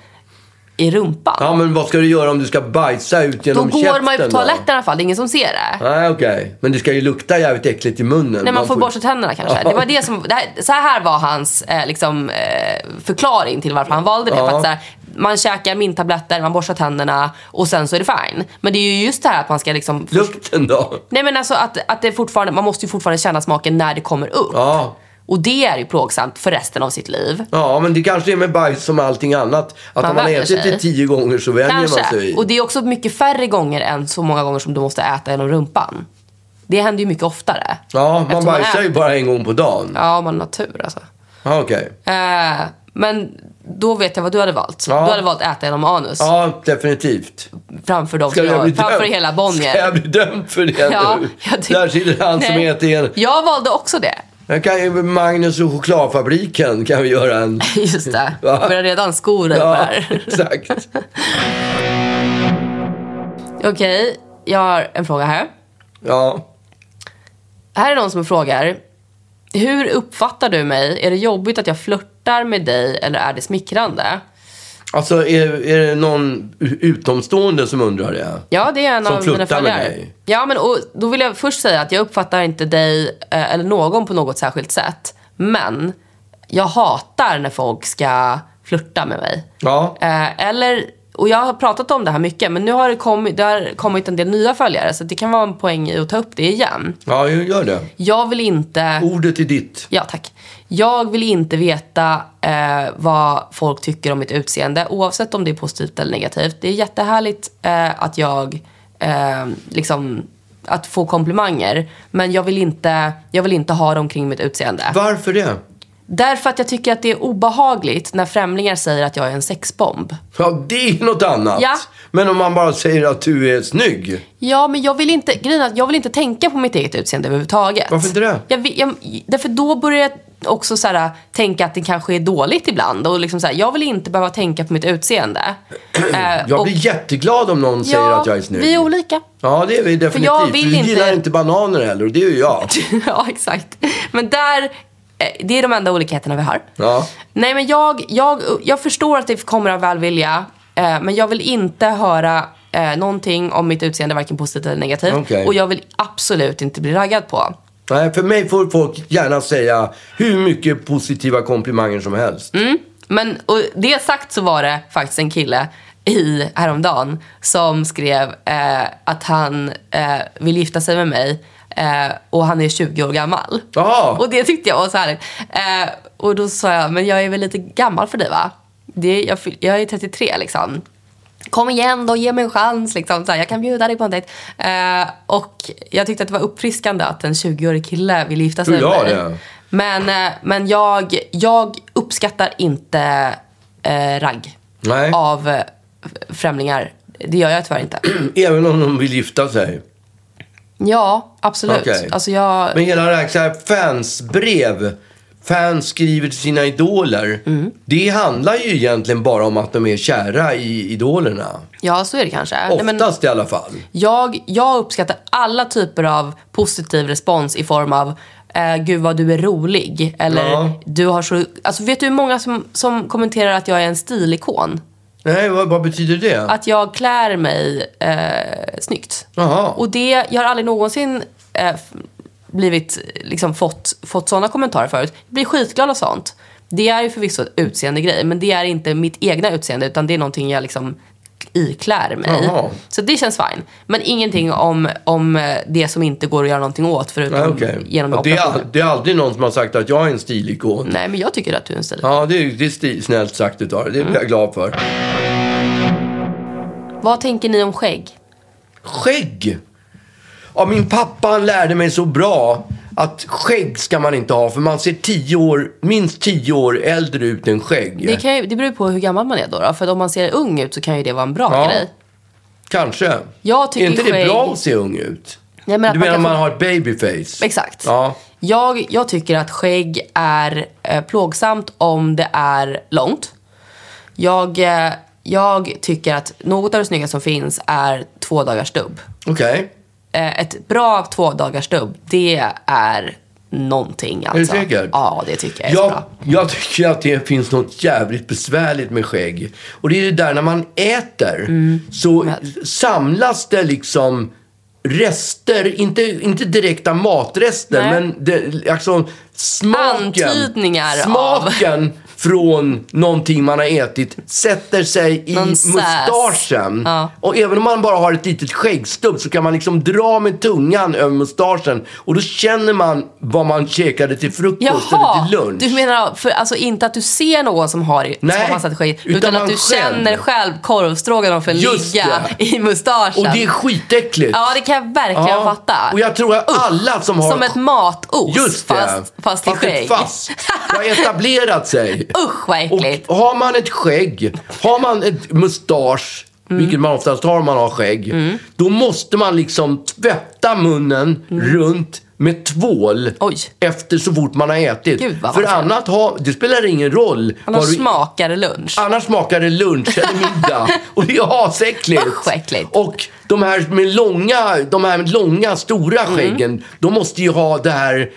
[SPEAKER 2] i rumpan.
[SPEAKER 1] ja, men vad ska du göra om du ska bajsa ut
[SPEAKER 2] då
[SPEAKER 1] genom
[SPEAKER 2] går
[SPEAKER 1] käften
[SPEAKER 2] man ju på
[SPEAKER 1] då?
[SPEAKER 2] toaletten i alla fall, det är ingen som ser det.
[SPEAKER 1] Nej, okej. Men det ska ju lukta jävligt äckligt i munnen.
[SPEAKER 2] Nej, man får borsta tänderna kanske.
[SPEAKER 1] Ja.
[SPEAKER 2] Det var det som, det här, så här var hans eh, liksom, eh, förklaring till varför han valde det.
[SPEAKER 1] Ja.
[SPEAKER 2] För att, så här, man käkar mintabletter, man borstar tänderna och sen så är det fine. Men det är ju just det här att man ska liksom...
[SPEAKER 1] Lukten då?
[SPEAKER 2] Nej men alltså att, att det fortfarande, man måste ju fortfarande känna smaken när det kommer upp.
[SPEAKER 1] Ja.
[SPEAKER 2] Och det är ju plågsamt för resten av sitt liv.
[SPEAKER 1] Ja, men det kanske är med bajs som allting annat. Att
[SPEAKER 2] Man
[SPEAKER 1] om man
[SPEAKER 2] vänjer
[SPEAKER 1] ätit
[SPEAKER 2] sig.
[SPEAKER 1] det tio gånger så vänjer man sig.
[SPEAKER 2] Kanske. Och det är också mycket färre gånger än så många gånger som du måste äta genom rumpan. Det händer ju mycket oftare.
[SPEAKER 1] Ja, man
[SPEAKER 2] Eftersom
[SPEAKER 1] bajsar ju
[SPEAKER 2] äter-
[SPEAKER 1] bara en gång på dagen.
[SPEAKER 2] Ja, om man har tur alltså.
[SPEAKER 1] Ja, okej.
[SPEAKER 2] Eh, men då vet jag vad du hade valt.
[SPEAKER 1] Ja.
[SPEAKER 2] Du hade valt äta genom anus
[SPEAKER 1] Ja, definitivt.
[SPEAKER 2] framför, dem
[SPEAKER 1] Ska
[SPEAKER 2] som
[SPEAKER 1] jag
[SPEAKER 2] jag,
[SPEAKER 1] bli
[SPEAKER 2] framför
[SPEAKER 1] dömd?
[SPEAKER 2] hela
[SPEAKER 1] Ska
[SPEAKER 2] Bonnier.
[SPEAKER 1] jag bli dömd för det
[SPEAKER 2] Ja,
[SPEAKER 1] nu?
[SPEAKER 2] jag tyck-
[SPEAKER 1] Där sitter han som
[SPEAKER 2] Nej.
[SPEAKER 1] heter en...
[SPEAKER 2] Jag valde också det. <laughs>
[SPEAKER 1] Jag kan, ju- Magnus och chokladfabriken kan vi göra
[SPEAKER 2] <laughs>
[SPEAKER 1] en...
[SPEAKER 2] Just det.
[SPEAKER 1] Va?
[SPEAKER 2] Jag börjar redan sko dig på det
[SPEAKER 1] Ja,
[SPEAKER 2] här.
[SPEAKER 1] exakt.
[SPEAKER 2] <laughs> Okej, jag har en fråga här.
[SPEAKER 1] Ja.
[SPEAKER 2] Här är någon som frågar. Hur uppfattar du mig? Är det jobbigt att jag flörtar med dig eller är det smickrande?
[SPEAKER 1] Alltså, är, är det någon u- utomstående som undrar det?
[SPEAKER 2] Ja, det är en
[SPEAKER 1] Som
[SPEAKER 2] av mina
[SPEAKER 1] flörtar med
[SPEAKER 2] följare.
[SPEAKER 1] dig.
[SPEAKER 2] Ja, men och, då vill jag först säga att jag uppfattar inte dig eh, eller någon på något särskilt sätt. Men jag hatar när folk ska flirta med mig.
[SPEAKER 1] Ja.
[SPEAKER 2] Eh, eller, och jag har pratat om det här mycket, men nu har det kommit, det har kommit en del nya följare. Så det kan vara en poäng i att ta upp det igen.
[SPEAKER 1] Ja, ju- gör det.
[SPEAKER 2] Jag vill inte...
[SPEAKER 1] Ordet är ditt.
[SPEAKER 2] Ja, tack. Jag vill inte veta eh, vad folk tycker om mitt utseende oavsett om det är positivt eller negativt. Det är jättehärligt eh, att jag eh, liksom att få komplimanger men jag vill inte, jag vill inte ha dem kring mitt utseende.
[SPEAKER 1] Varför det?
[SPEAKER 2] Därför att jag tycker att det är obehagligt när främlingar säger att jag är en sexbomb.
[SPEAKER 1] Ja, det är något annat.
[SPEAKER 2] Ja.
[SPEAKER 1] Men om man bara säger att du är snygg.
[SPEAKER 2] Ja, men jag vill inte, grejen är att jag vill inte tänka på mitt eget utseende överhuvudtaget.
[SPEAKER 1] Varför inte det?
[SPEAKER 2] Jag, vill- jag, därför då börjar jag också så här, tänka att det kanske är dåligt ibland. Och liksom så här, jag vill inte behöva tänka på
[SPEAKER 1] <clears throat>
[SPEAKER 2] mitt utseende. Eh,
[SPEAKER 1] Jag
[SPEAKER 2] och-
[SPEAKER 1] blir jätteglad om någon säger att jag är snygg.
[SPEAKER 2] Vi är olika. <laughs>
[SPEAKER 1] Ja, det är vi definitivt.
[SPEAKER 2] jag vill
[SPEAKER 1] du
[SPEAKER 2] inte-
[SPEAKER 1] gillar inte bananer heller och det är ju jag.
[SPEAKER 2] ja, exakt. Men där, eh, det är de enda olikheterna vi har.
[SPEAKER 1] Ja.
[SPEAKER 2] Nej, men jag, jag, jag förstår att det kommer av välvilja, eh, men jag vill inte höra eh, någonting om mitt utseende, varken positivt eller negativt.
[SPEAKER 1] Okej.
[SPEAKER 2] Och jag vill absolut inte bli raggad på.
[SPEAKER 1] Nej, för mig får folk gärna säga hur mycket positiva komplimanger som helst.
[SPEAKER 2] Mm. Men och det sagt så var det faktiskt en kille i häromdagen som skrev eh, att han eh, vill gifta sig med mig eh, och han är 20 år gammal.
[SPEAKER 1] Jaha.
[SPEAKER 2] Och det tyckte jag var så härligt. Eh, och då sa jag, men jag är väl lite gammal för dig va? Det, jag, fyll- jag är 33 liksom. Kom igen då, ge mig en chans. Liksom. Så här, jag kan bjuda dig på en dejt. Eh, och jag tyckte att det var uppfriskande att en 20-årig kille ville gifta sig
[SPEAKER 1] Tror jag
[SPEAKER 2] med
[SPEAKER 1] det.
[SPEAKER 2] mig. Men, eh, men jag, jag uppskattar inte eh, ragg
[SPEAKER 1] Nej.
[SPEAKER 2] av eh, främlingar. Det gör jag tyvärr inte. <clears throat>
[SPEAKER 1] Även om de vill gifta sig.
[SPEAKER 2] Ja, absolut.
[SPEAKER 1] Okej.
[SPEAKER 2] Alltså jag...
[SPEAKER 1] Men hela det här, så här fansbrev, fans skriver till sina idoler.
[SPEAKER 2] Mm.
[SPEAKER 1] Det handlar ju egentligen bara om att de är kära i idolerna.
[SPEAKER 2] Ja, så är det kanske. Nej, men-
[SPEAKER 1] Oftast i alla fall.
[SPEAKER 2] Jag, jag uppskattar alla typer av positiv respons i form av eh, “Gud vad du är rolig” eller
[SPEAKER 1] Ja.
[SPEAKER 2] “Du har så...” Alltså vet du hur många som, som kommenterar att jag är en stilikon?
[SPEAKER 1] Nej, vad, vad betyder det?
[SPEAKER 2] Att jag klär mig eh, snyggt.
[SPEAKER 1] Jaha.
[SPEAKER 2] Och det, jag har aldrig någonsin eh, f- blivit, liksom, fått, fått sådana kommentarer förut. Jag blir skitglad av sånt. Det är ju förvisso ett utseende grej men det är inte mitt egna utseende utan det är någonting jag liksom iklär mig.
[SPEAKER 1] Jaha.
[SPEAKER 2] Så det känns fine. Men ingenting om, om eh, det som inte går att göra någonting åt förutom
[SPEAKER 1] Nej, okej.
[SPEAKER 2] genom Mm.
[SPEAKER 1] Ja, det, är,
[SPEAKER 2] operationer.
[SPEAKER 1] al- det är aldrig någon som har sagt att jag är en stilikon.
[SPEAKER 2] Nej men jag tycker att du är en stil.
[SPEAKER 1] Ja, det är, det är stil, snällt sagt utav dig. Det
[SPEAKER 2] Mm.
[SPEAKER 1] blir jag glad för.
[SPEAKER 2] Vad tänker ni om skägg?
[SPEAKER 1] Skägg! Ja, min pappa han lärde mig så bra att skägg ska man inte ha för man ser tio år, minst tio år äldre ut än skägg.
[SPEAKER 2] Det, kan ju, det beror ju på hur gammal man är då, då. För att om man ser ung ut så kan ju det vara en bra
[SPEAKER 1] Ja.
[SPEAKER 2] grej.
[SPEAKER 1] Kanske.
[SPEAKER 2] Jag tycker
[SPEAKER 1] är inte det
[SPEAKER 2] skägg-
[SPEAKER 1] bra att se ung ut?
[SPEAKER 2] Nej, men att
[SPEAKER 1] du
[SPEAKER 2] man
[SPEAKER 1] menar
[SPEAKER 2] kan
[SPEAKER 1] man
[SPEAKER 2] få-
[SPEAKER 1] har ett babyface?
[SPEAKER 2] Exakt.
[SPEAKER 1] Ja.
[SPEAKER 2] Jag, jag tycker att skägg är eh, plågsamt om det är långt. Jag, eh, jag tycker att något av det snygga som finns är två dagars dubb.
[SPEAKER 1] Okej.
[SPEAKER 2] Eh, ett bra två dagars dubb, det är någonting
[SPEAKER 1] du
[SPEAKER 2] alltså.
[SPEAKER 1] säker?
[SPEAKER 2] Ja, det tycker jag är så
[SPEAKER 1] Jag,
[SPEAKER 2] bra.
[SPEAKER 1] jag tycker att det finns något jävligt besvärligt med skägg. Och det är det där när man äter
[SPEAKER 2] Mm.
[SPEAKER 1] så samlas det liksom rester, inte, inte direkta matrester,
[SPEAKER 2] Nej.
[SPEAKER 1] men det, alltså smaken.
[SPEAKER 2] Antydningar av-
[SPEAKER 1] smaken från någonting man har ätit sätter sig i
[SPEAKER 2] Någon
[SPEAKER 1] mustaschen.
[SPEAKER 2] säs. Ja.
[SPEAKER 1] Och även om man bara har ett litet skäggstubb så kan man liksom dra med tungan över mustaschen och då känner man vad man käkade till frukost eller
[SPEAKER 2] Jaha,
[SPEAKER 1] till lunch.
[SPEAKER 2] du menar för, alltså inte att du ser någon som har, som
[SPEAKER 1] Nej,
[SPEAKER 2] har massa skägg
[SPEAKER 1] utan
[SPEAKER 2] utan,
[SPEAKER 1] man
[SPEAKER 2] att du
[SPEAKER 1] själv.
[SPEAKER 2] känner själv korvstroganoffen
[SPEAKER 1] Just
[SPEAKER 2] ligga
[SPEAKER 1] det.
[SPEAKER 2] i mustaschen.
[SPEAKER 1] Och det är skitäckligt.
[SPEAKER 2] Ja, det kan jag verkligen
[SPEAKER 1] Ja,
[SPEAKER 2] fatta.
[SPEAKER 1] Och jag tror att alla som har...
[SPEAKER 2] Som ett matos
[SPEAKER 1] Just det.
[SPEAKER 2] fast, fast i
[SPEAKER 1] fast ett
[SPEAKER 2] skägg.
[SPEAKER 1] Fast. Det har etablerat sig.
[SPEAKER 2] <laughs> Usch vad äckligt.
[SPEAKER 1] Och har man ett skägg, har man ett mustasch,
[SPEAKER 2] Mm.
[SPEAKER 1] vilket man oftast har om man har skägg, då måste man liksom tvätta munnen runt med tvål
[SPEAKER 2] Mm. Oj.
[SPEAKER 1] efter så fort man har ätit.
[SPEAKER 2] Gud, vad
[SPEAKER 1] För
[SPEAKER 2] vansinnigt.
[SPEAKER 1] annat har, det spelar ingen roll.
[SPEAKER 2] Annars
[SPEAKER 1] vad du-
[SPEAKER 2] smakar lunch.
[SPEAKER 1] Annars smakar det lunch
[SPEAKER 2] <laughs>
[SPEAKER 1] eller middag. Och det är asäckligt.
[SPEAKER 2] Usch, vad äckligt.
[SPEAKER 1] Och de här med långa, de här med långa stora
[SPEAKER 2] Mm.
[SPEAKER 1] skäggen, de måste ju ha det här,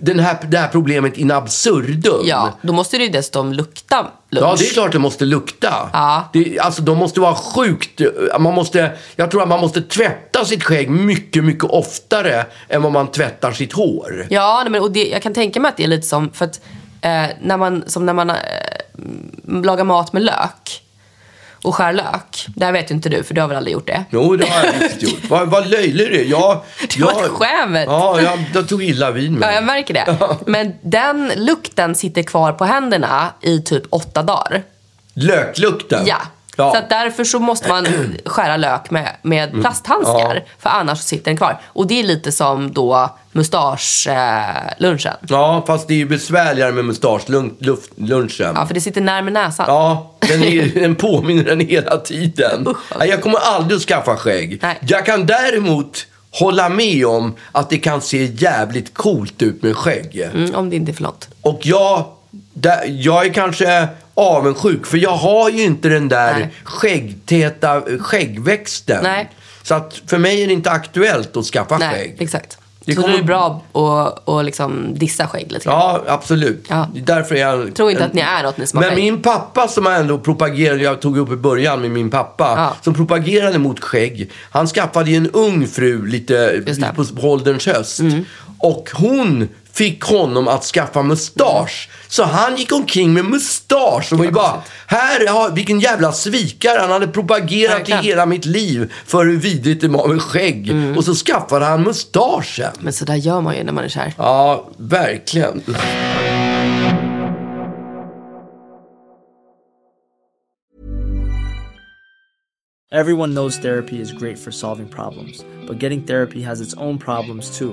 [SPEAKER 1] den här, det här problemet in absurdum.
[SPEAKER 2] Ja, då måste det ju dessutom lukta lunch.
[SPEAKER 1] Ja, det är klart det måste lukta.
[SPEAKER 2] Ja.
[SPEAKER 1] Det, alltså, de måste vara sjukt... Man måste, jag tror att man måste tvätta sitt skägg mycket, mycket oftare än vad man tvättar sitt hår.
[SPEAKER 2] Ja, nej, men, och det, jag kan tänka mig att det är lite som, för att, eh, när man, som när man eh, m- lagar mat med lök och skär lök. Det här vet ju inte du, för du har väl aldrig gjort det?
[SPEAKER 1] Jo, det har jag visst gjort. Vad, vad löjlig du är. Jag,
[SPEAKER 2] Det var ett skämt.
[SPEAKER 1] Ja, jag, jag tog illa vid mig.
[SPEAKER 2] Ja, jag märker det.
[SPEAKER 1] <laughs>
[SPEAKER 2] Men den lukten sitter kvar på händerna i typ åtta dagar.
[SPEAKER 1] Löklukten.
[SPEAKER 2] Ja.
[SPEAKER 1] Ja. Mm.
[SPEAKER 2] Så att därför så måste man <clears throat> skära lök med, med plasthandskar.
[SPEAKER 1] Ja.
[SPEAKER 2] För annars så sitter den kvar. Och det är lite som då mustaschlunchen. Eh, lunchen.
[SPEAKER 1] Ja, fast det är ju besvärligare med mustaschlunchen.
[SPEAKER 2] ja, för det sitter närmare näsan.
[SPEAKER 1] Ja, den, är, <laughs> den påminner den hela tiden. Nej, Jag kommer aldrig att skaffa skägg.
[SPEAKER 2] alltså. Nej.
[SPEAKER 1] Jag kan däremot hålla med om att det kan se jävligt coolt ut med skägg.
[SPEAKER 2] Mm, om det inte är för långt.
[SPEAKER 1] Och jag, där, jag är kanske avundsjuk för jag har ju inte den där
[SPEAKER 2] Nej.
[SPEAKER 1] skäggtäta skäggväxten.
[SPEAKER 2] Nej.
[SPEAKER 1] Så att för mig är det inte aktuellt att skaffa
[SPEAKER 2] Nej,
[SPEAKER 1] skägg.
[SPEAKER 2] exakt.
[SPEAKER 1] Det
[SPEAKER 2] så då är det
[SPEAKER 1] kommer-
[SPEAKER 2] bra att, att liksom dissa skägg lite grann.
[SPEAKER 1] Ja, absolut.
[SPEAKER 2] Ja.
[SPEAKER 1] Därför är jag...
[SPEAKER 2] Tror inte att ni är något, ni som har
[SPEAKER 1] Men
[SPEAKER 2] skägg.
[SPEAKER 1] min pappa som ändå propagerade, jag tog upp i början med min pappa,
[SPEAKER 2] Ja.
[SPEAKER 1] som propagerade mot skägg. Han skaffade ju en ung fru lite,
[SPEAKER 2] Just det. Mm.
[SPEAKER 1] på på ålderns höst. Och hon fick honom att skaffa mustasch. Så han gick omkring med mustasch och var ju bara, här, har, vilken jävla svikare. Han hade propagerat i
[SPEAKER 2] Verkligen. Mm.
[SPEAKER 1] hela mitt liv för hur vidrigt det var med skägg. Och så skaffade han mustaschen.
[SPEAKER 2] Men så där gör man ju när man är kär.
[SPEAKER 1] Ja, verkligen.
[SPEAKER 4] Everyone knows therapy is great for solving problems, but getting therapy has its own problems too,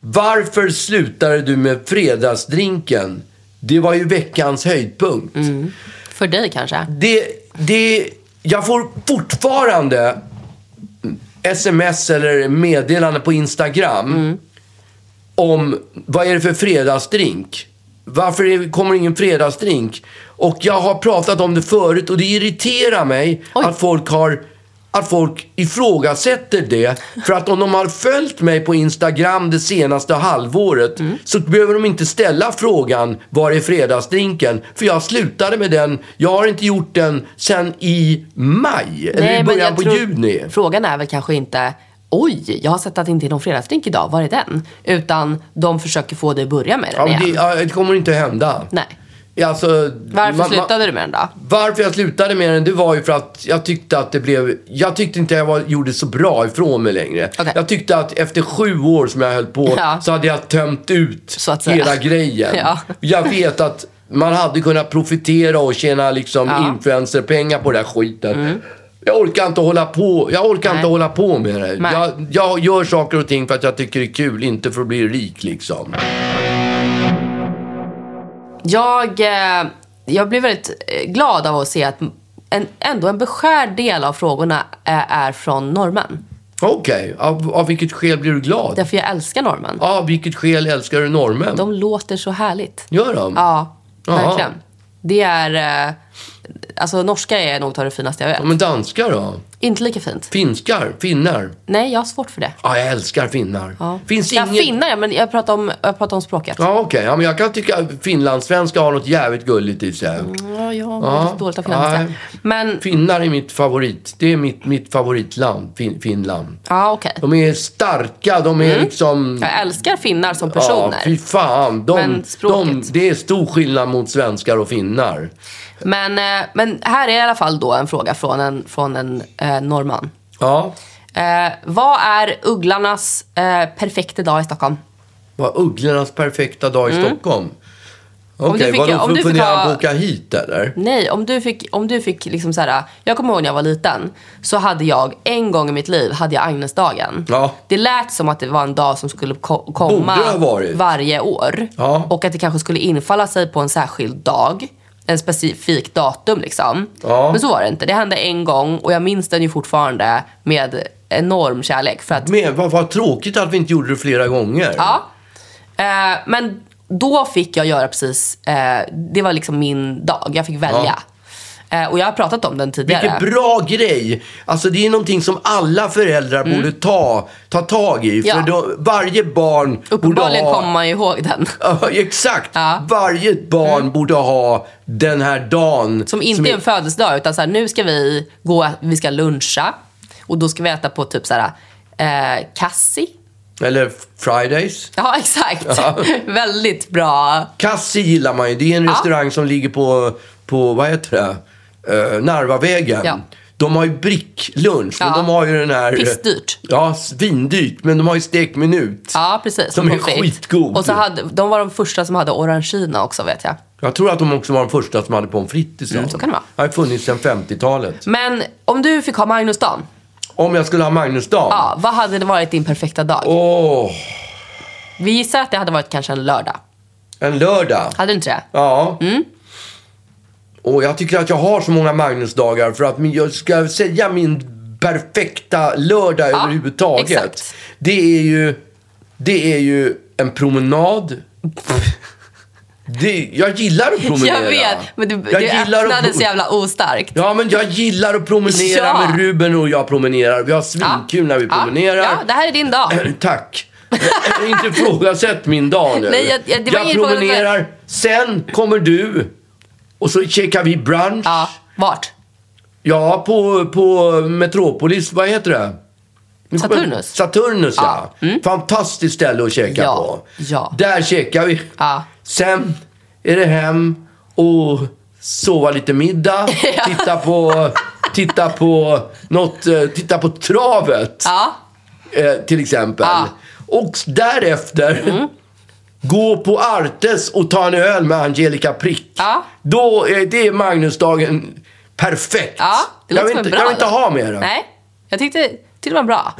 [SPEAKER 1] Varför slutade du med fredagsdrinken? Det var ju veckans höjdpunkt.
[SPEAKER 2] För dig kanske?
[SPEAKER 1] Det, det, jag får fortfarande sms eller meddelande på Instagram om vad är det för fredagsdrink? Varför är, kommer ingen fredagsdrink? Och jag har pratat om det förut och det irriterar mig
[SPEAKER 2] Oj.
[SPEAKER 1] att folk har att folk ifrågasätter det. För att om de har följt mig på Instagram det senaste halvåret så behöver de inte ställa frågan var är fredagsdrinken? För jag slutade med den. Jag har inte gjort den sen i maj. eller i början på juni.
[SPEAKER 2] Frågan är väl kanske inte Oj, jag har sett att det inte är någon fredagsdrink idag. Var är den? Utan de försöker få dig att börja med den
[SPEAKER 1] Ja, men det,
[SPEAKER 2] igen.
[SPEAKER 1] ja, det kommer inte hända.
[SPEAKER 2] Nej.
[SPEAKER 1] Alltså,
[SPEAKER 2] Varför
[SPEAKER 1] man- man-
[SPEAKER 2] slutade du med den då?
[SPEAKER 1] Varför jag slutade med den, det var ju för att jag tyckte att det blev... Jag tyckte inte jag var, gjorde så bra ifrån mig längre.
[SPEAKER 2] Okej.
[SPEAKER 1] Jag tyckte att efter sju år som jag höll på
[SPEAKER 2] Ja.
[SPEAKER 1] så hade jag tömt ut
[SPEAKER 2] Så att säga.
[SPEAKER 1] hela grejen.
[SPEAKER 2] <laughs> Ja.
[SPEAKER 1] Jag vet att man hade kunnat profitera och tjäna liksom
[SPEAKER 2] Ja. Mm.
[SPEAKER 1] influencerpengar på den här skiten. Jag orkar inte hålla på, jag orkar
[SPEAKER 2] Nej.
[SPEAKER 1] inte hålla på med det.
[SPEAKER 2] Nej.
[SPEAKER 1] Jag, jag gör saker och ting för att jag tycker det är kul, inte för att bli rik liksom.
[SPEAKER 2] Jag, eh, jag blir väldigt eh, glad av att se att en, ändå en beskärd del av frågorna är, är från norrmän.
[SPEAKER 1] Okej, av, av vilket skäl blir du glad?
[SPEAKER 2] Därför jag älskar norrmän.
[SPEAKER 1] Av vilket skäl älskar du norrmän?
[SPEAKER 2] De låter så härligt.
[SPEAKER 1] Gör de?
[SPEAKER 2] Ja,
[SPEAKER 1] Ja.
[SPEAKER 2] verkligen. Det är... eh, Alltså norska är nog av det finaste jag vet.
[SPEAKER 1] Ja, men danskar då?
[SPEAKER 2] Inte lika fint.
[SPEAKER 1] Finskar? Finnar?
[SPEAKER 2] Nej, jag har svårt för det.
[SPEAKER 1] Ja, jag älskar finnar.
[SPEAKER 2] Ja.
[SPEAKER 1] Finns
[SPEAKER 2] ja,
[SPEAKER 1] inget...
[SPEAKER 2] finnar, ja, men jag pratar om, jag pratar om språket.
[SPEAKER 1] Ja, okej. Ja, men jag kan tycka att finlandssvenska har något jävligt gulligt i sig.
[SPEAKER 2] Ja, jag har
[SPEAKER 1] Ja.
[SPEAKER 2] lite dåligt av finlandssvenska.
[SPEAKER 1] Nej.
[SPEAKER 2] Men,
[SPEAKER 1] Finnar är mitt favorit. Det är mitt, mitt favoritland, fin- Finland.
[SPEAKER 2] ja okej.
[SPEAKER 1] De är starka, de är liksom...
[SPEAKER 2] Jag älskar finnar som
[SPEAKER 1] Ja,
[SPEAKER 2] Mm. personer.
[SPEAKER 1] fy fan. De,
[SPEAKER 2] Men
[SPEAKER 1] de,
[SPEAKER 2] språket.
[SPEAKER 1] det är stor skillnad mot svenskar och finnar.
[SPEAKER 2] men, eh, men här är i alla fall då en fråga från en, från en eh, norrman.
[SPEAKER 1] Ja,
[SPEAKER 2] Eh, vad är ugglarnas eh, perfekta dag i Stockholm?
[SPEAKER 1] var ugglornas perfekta dag i Stockholm.
[SPEAKER 2] du
[SPEAKER 1] Okej,
[SPEAKER 2] fick-
[SPEAKER 1] vadå?
[SPEAKER 2] Mm. om
[SPEAKER 1] För-
[SPEAKER 2] du fick
[SPEAKER 1] Funderar han på
[SPEAKER 2] ha-
[SPEAKER 1] att åka hit eller?
[SPEAKER 2] Nej, om du fick, om du fick liksom så här, jag kommer ihåg när jag var liten så hade jag en gång i mitt liv hade jag Agnesdagen.
[SPEAKER 1] Ja.
[SPEAKER 2] Det lät som att det var en dag som skulle ko- komma
[SPEAKER 1] Borde ha varit.
[SPEAKER 2] varje år
[SPEAKER 1] Ja.
[SPEAKER 2] och att det kanske skulle infalla sig på en särskild dag. en specifik datum. Liksom.
[SPEAKER 1] Ja.
[SPEAKER 2] Men så var det inte. Det hände en gång och jag minns den ju fortfarande med enorm kärlek. För att,
[SPEAKER 1] Men vad, vad tråkigt att vi inte gjorde det flera gånger.
[SPEAKER 2] ja. eh, men då fick jag göra precis, eh, det var liksom min dag. Jag fick välja. Eh, och jag har pratat om den tidigare.
[SPEAKER 1] Vilken bra grej! Alltså det är någonting som alla föräldrar borde ta, ta tag i. För
[SPEAKER 2] Mm. Ja.
[SPEAKER 1] då, varje barn borde
[SPEAKER 2] Uppenbarligen
[SPEAKER 1] ha...
[SPEAKER 2] kommer man ju ihåg den.
[SPEAKER 1] <laughs> Ja, exakt!
[SPEAKER 2] Ja. Mm.
[SPEAKER 1] Varje barn borde ha den här dagen.
[SPEAKER 2] Som inte är en födelsedag utan så här, nu ska vi gå, vi ska luncha och då ska vi äta på typ så här eh, Cassi.
[SPEAKER 1] Eller Fridays.
[SPEAKER 2] Ja <laughs> exakt.
[SPEAKER 1] Ja.
[SPEAKER 2] Väldigt bra.
[SPEAKER 1] Kassi gillar man ju. Det är en restaurang som ligger på, på vad heter det, Eh, Narvavägen.
[SPEAKER 2] Ja.
[SPEAKER 1] De har ju bricklunch, men
[SPEAKER 2] Ja.
[SPEAKER 1] de har ju den här...
[SPEAKER 2] Pissdyrt.
[SPEAKER 1] Ja, svindyrt. Men de har ju stekminut.
[SPEAKER 2] Ja precis.
[SPEAKER 1] Som är
[SPEAKER 2] pommes frites.
[SPEAKER 1] skitgod.
[SPEAKER 2] Och så hade, de var de första som hade orangina också vet jag.
[SPEAKER 1] Jag tror att de också var de första som hade pommes frites i staden.
[SPEAKER 2] Mm, så kan det vara.
[SPEAKER 1] Det har funnits sedan 50-talet.
[SPEAKER 2] Men om du fick ha Magnusdagen,
[SPEAKER 1] Om jag skulle ha Magnusdagen.
[SPEAKER 2] ja, vad hade det varit din perfekta dag?
[SPEAKER 1] Åh,
[SPEAKER 2] Vi gissar att det hade varit kanske en lördag.
[SPEAKER 1] en lördag.
[SPEAKER 2] Hade du inte det?
[SPEAKER 1] Ja.
[SPEAKER 2] Mm.
[SPEAKER 1] Och jag tycker att jag har så många Magnusdagar för att min, jag ska säga min perfekta lördag överhuvudtaget.
[SPEAKER 2] exakt.
[SPEAKER 1] Det är ju det är ju en promenad. det, jag gillar att promenera.
[SPEAKER 2] <laughs> Jag vet, men du,
[SPEAKER 1] Jag
[SPEAKER 2] du
[SPEAKER 1] gillar att
[SPEAKER 2] öppnade
[SPEAKER 1] pro-
[SPEAKER 2] så jävla ostarkt.
[SPEAKER 1] Ja, men jag gillar att promenera
[SPEAKER 2] Ja.
[SPEAKER 1] med Ruben och jag promenerar. Vi har svinkul när vi
[SPEAKER 2] ja,
[SPEAKER 1] promenerar.
[SPEAKER 2] Ja, det här är din
[SPEAKER 1] <clears throat>
[SPEAKER 2] dag.
[SPEAKER 1] Eh, Tack. Eh, inte ifrågasätt min dag nu.
[SPEAKER 2] Nej, jag- jag- det var ingen
[SPEAKER 1] promenerar, sen kommer du och så checkar vi brunch. Ja,
[SPEAKER 2] Ja, vart?
[SPEAKER 1] på, på Metropolis, vad heter det? Nu kommer-
[SPEAKER 2] Saturnus. Mm.
[SPEAKER 1] Saturnus, ja. Fantastiskt ställe att checka
[SPEAKER 2] Ja,
[SPEAKER 1] på.
[SPEAKER 2] ja.
[SPEAKER 1] Där checkar vi.
[SPEAKER 2] Ja.
[SPEAKER 1] Sen är det hem och sova lite
[SPEAKER 2] <laughs>
[SPEAKER 1] middag, titta på... Titta på något, eh, titta på travet
[SPEAKER 2] Ja,
[SPEAKER 1] eh, till exempel.
[SPEAKER 2] Ah. Mm.
[SPEAKER 1] Och därefter gå på Artes och ta en öl med Angelica Prick.
[SPEAKER 2] Ja.
[SPEAKER 1] Då är det är Magnusdagen perfekt.
[SPEAKER 2] ja. Ah, Det
[SPEAKER 1] jag
[SPEAKER 2] låter
[SPEAKER 1] vill
[SPEAKER 2] som en
[SPEAKER 1] inte,
[SPEAKER 2] bra
[SPEAKER 1] jag vill inte
[SPEAKER 2] dag.
[SPEAKER 1] ha mer.
[SPEAKER 2] Nej, jag tyckte, tyckte det
[SPEAKER 1] <clears throat>
[SPEAKER 2] var bra.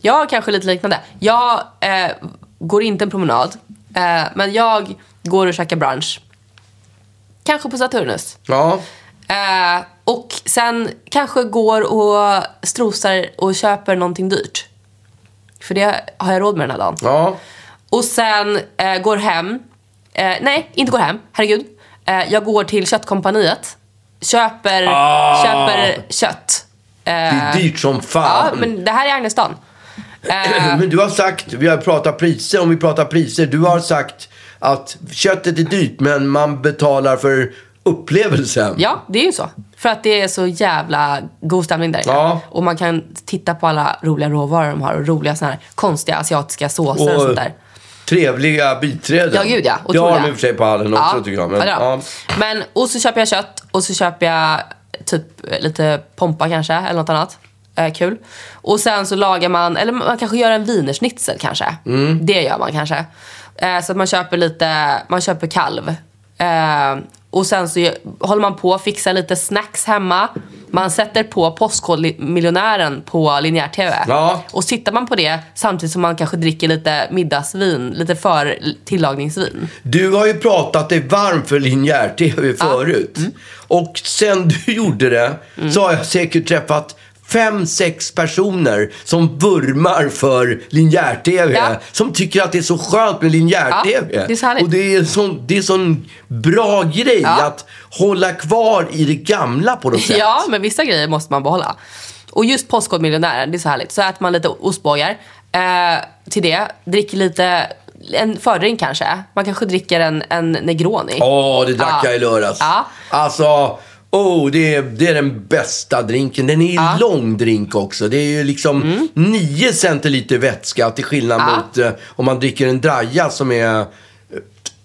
[SPEAKER 2] Jag har kanske lite liknande. Jag eh, går inte en promenad, eh, men jag går och käkar brunch. Kanske på Saturnus.
[SPEAKER 1] Ja.
[SPEAKER 2] Eh, och sen kanske går och strosar och köper någonting dyrt. För det har jag råd med den här dagen.
[SPEAKER 1] Ja.
[SPEAKER 2] Och sen eh, går hem. Eh, nej, inte går hem. Herregud. Eh, jag går till Köttkompaniet. Köper,
[SPEAKER 1] Ah.
[SPEAKER 2] köper kött. Eh,
[SPEAKER 1] Det är dyrt som fan.
[SPEAKER 2] Ja, men det här är Agnestan. Eh,
[SPEAKER 1] <clears throat> Men du har sagt, vi har pratat priser, om vi pratar priser, du har sagt att köttet är dyrt men man betalar för upplevelsen.
[SPEAKER 2] ja, det är ju så. För att det är så jävla god stämning där inne.
[SPEAKER 1] Ja.
[SPEAKER 2] Och man kan titta på alla roliga råvaror de har och roliga såna här konstiga asiatiska såser och,
[SPEAKER 1] Och
[SPEAKER 2] sånt där.
[SPEAKER 1] trevliga biträden.
[SPEAKER 2] Ja, gud ja.
[SPEAKER 1] Det har
[SPEAKER 2] Otroliga.
[SPEAKER 1] de i och för sig på hallen också tycker jag. Men,
[SPEAKER 2] ja, det har de.
[SPEAKER 1] ja.
[SPEAKER 2] men, och så köper jag kött och så köper jag typ lite pompa kanske eller något annat. Eh, kul. Och sen så lagar man, eller man kanske gör en wienerschnitzel kanske.
[SPEAKER 1] Mm.
[SPEAKER 2] Det gör man kanske. Eh, så att man köper lite, man köper kalv. Eh, och sen så gör- håller man på att fixa lite snacks hemma. Man sätter på Postkodmiljonären på linjär-tv.
[SPEAKER 1] Ja.
[SPEAKER 2] Och så tittar man på det samtidigt som man kanske dricker lite middagsvin, lite för tillagningsvin.
[SPEAKER 1] Du har ju pratat dig varm för linjär-tv förut.
[SPEAKER 2] Mm.
[SPEAKER 1] Och sen du <laughs> gjorde det så har jag säkert träffat fem, sex personer som vurmar för linjär-tv.
[SPEAKER 2] Ja.
[SPEAKER 1] Som tycker att det är så skönt med linjär-tv.
[SPEAKER 2] Ja, det är så härligt.
[SPEAKER 1] Och det är sån, det är sån bra grej
[SPEAKER 2] Ja.
[SPEAKER 1] att hålla kvar i det gamla på något sätt.
[SPEAKER 2] Ja, men vissa grejer måste man behålla. Och just Postkodmiljonären, det är så härligt. Så äter man lite ostbågar eh, till det. Dricker lite, en fördrink kanske. Man kanske dricker en, en Negroni.
[SPEAKER 1] Åh, det drack
[SPEAKER 2] Ja.
[SPEAKER 1] jag i lördags.
[SPEAKER 2] Ja.
[SPEAKER 1] Alltså, oh, det, är, det är den bästa drinken. Den är ju
[SPEAKER 2] Ja. Mm.
[SPEAKER 1] lång drink också. Det är ju liksom 9 centiliter vätska till skillnad
[SPEAKER 2] Ja.
[SPEAKER 1] mot eh, om man dricker en draja som är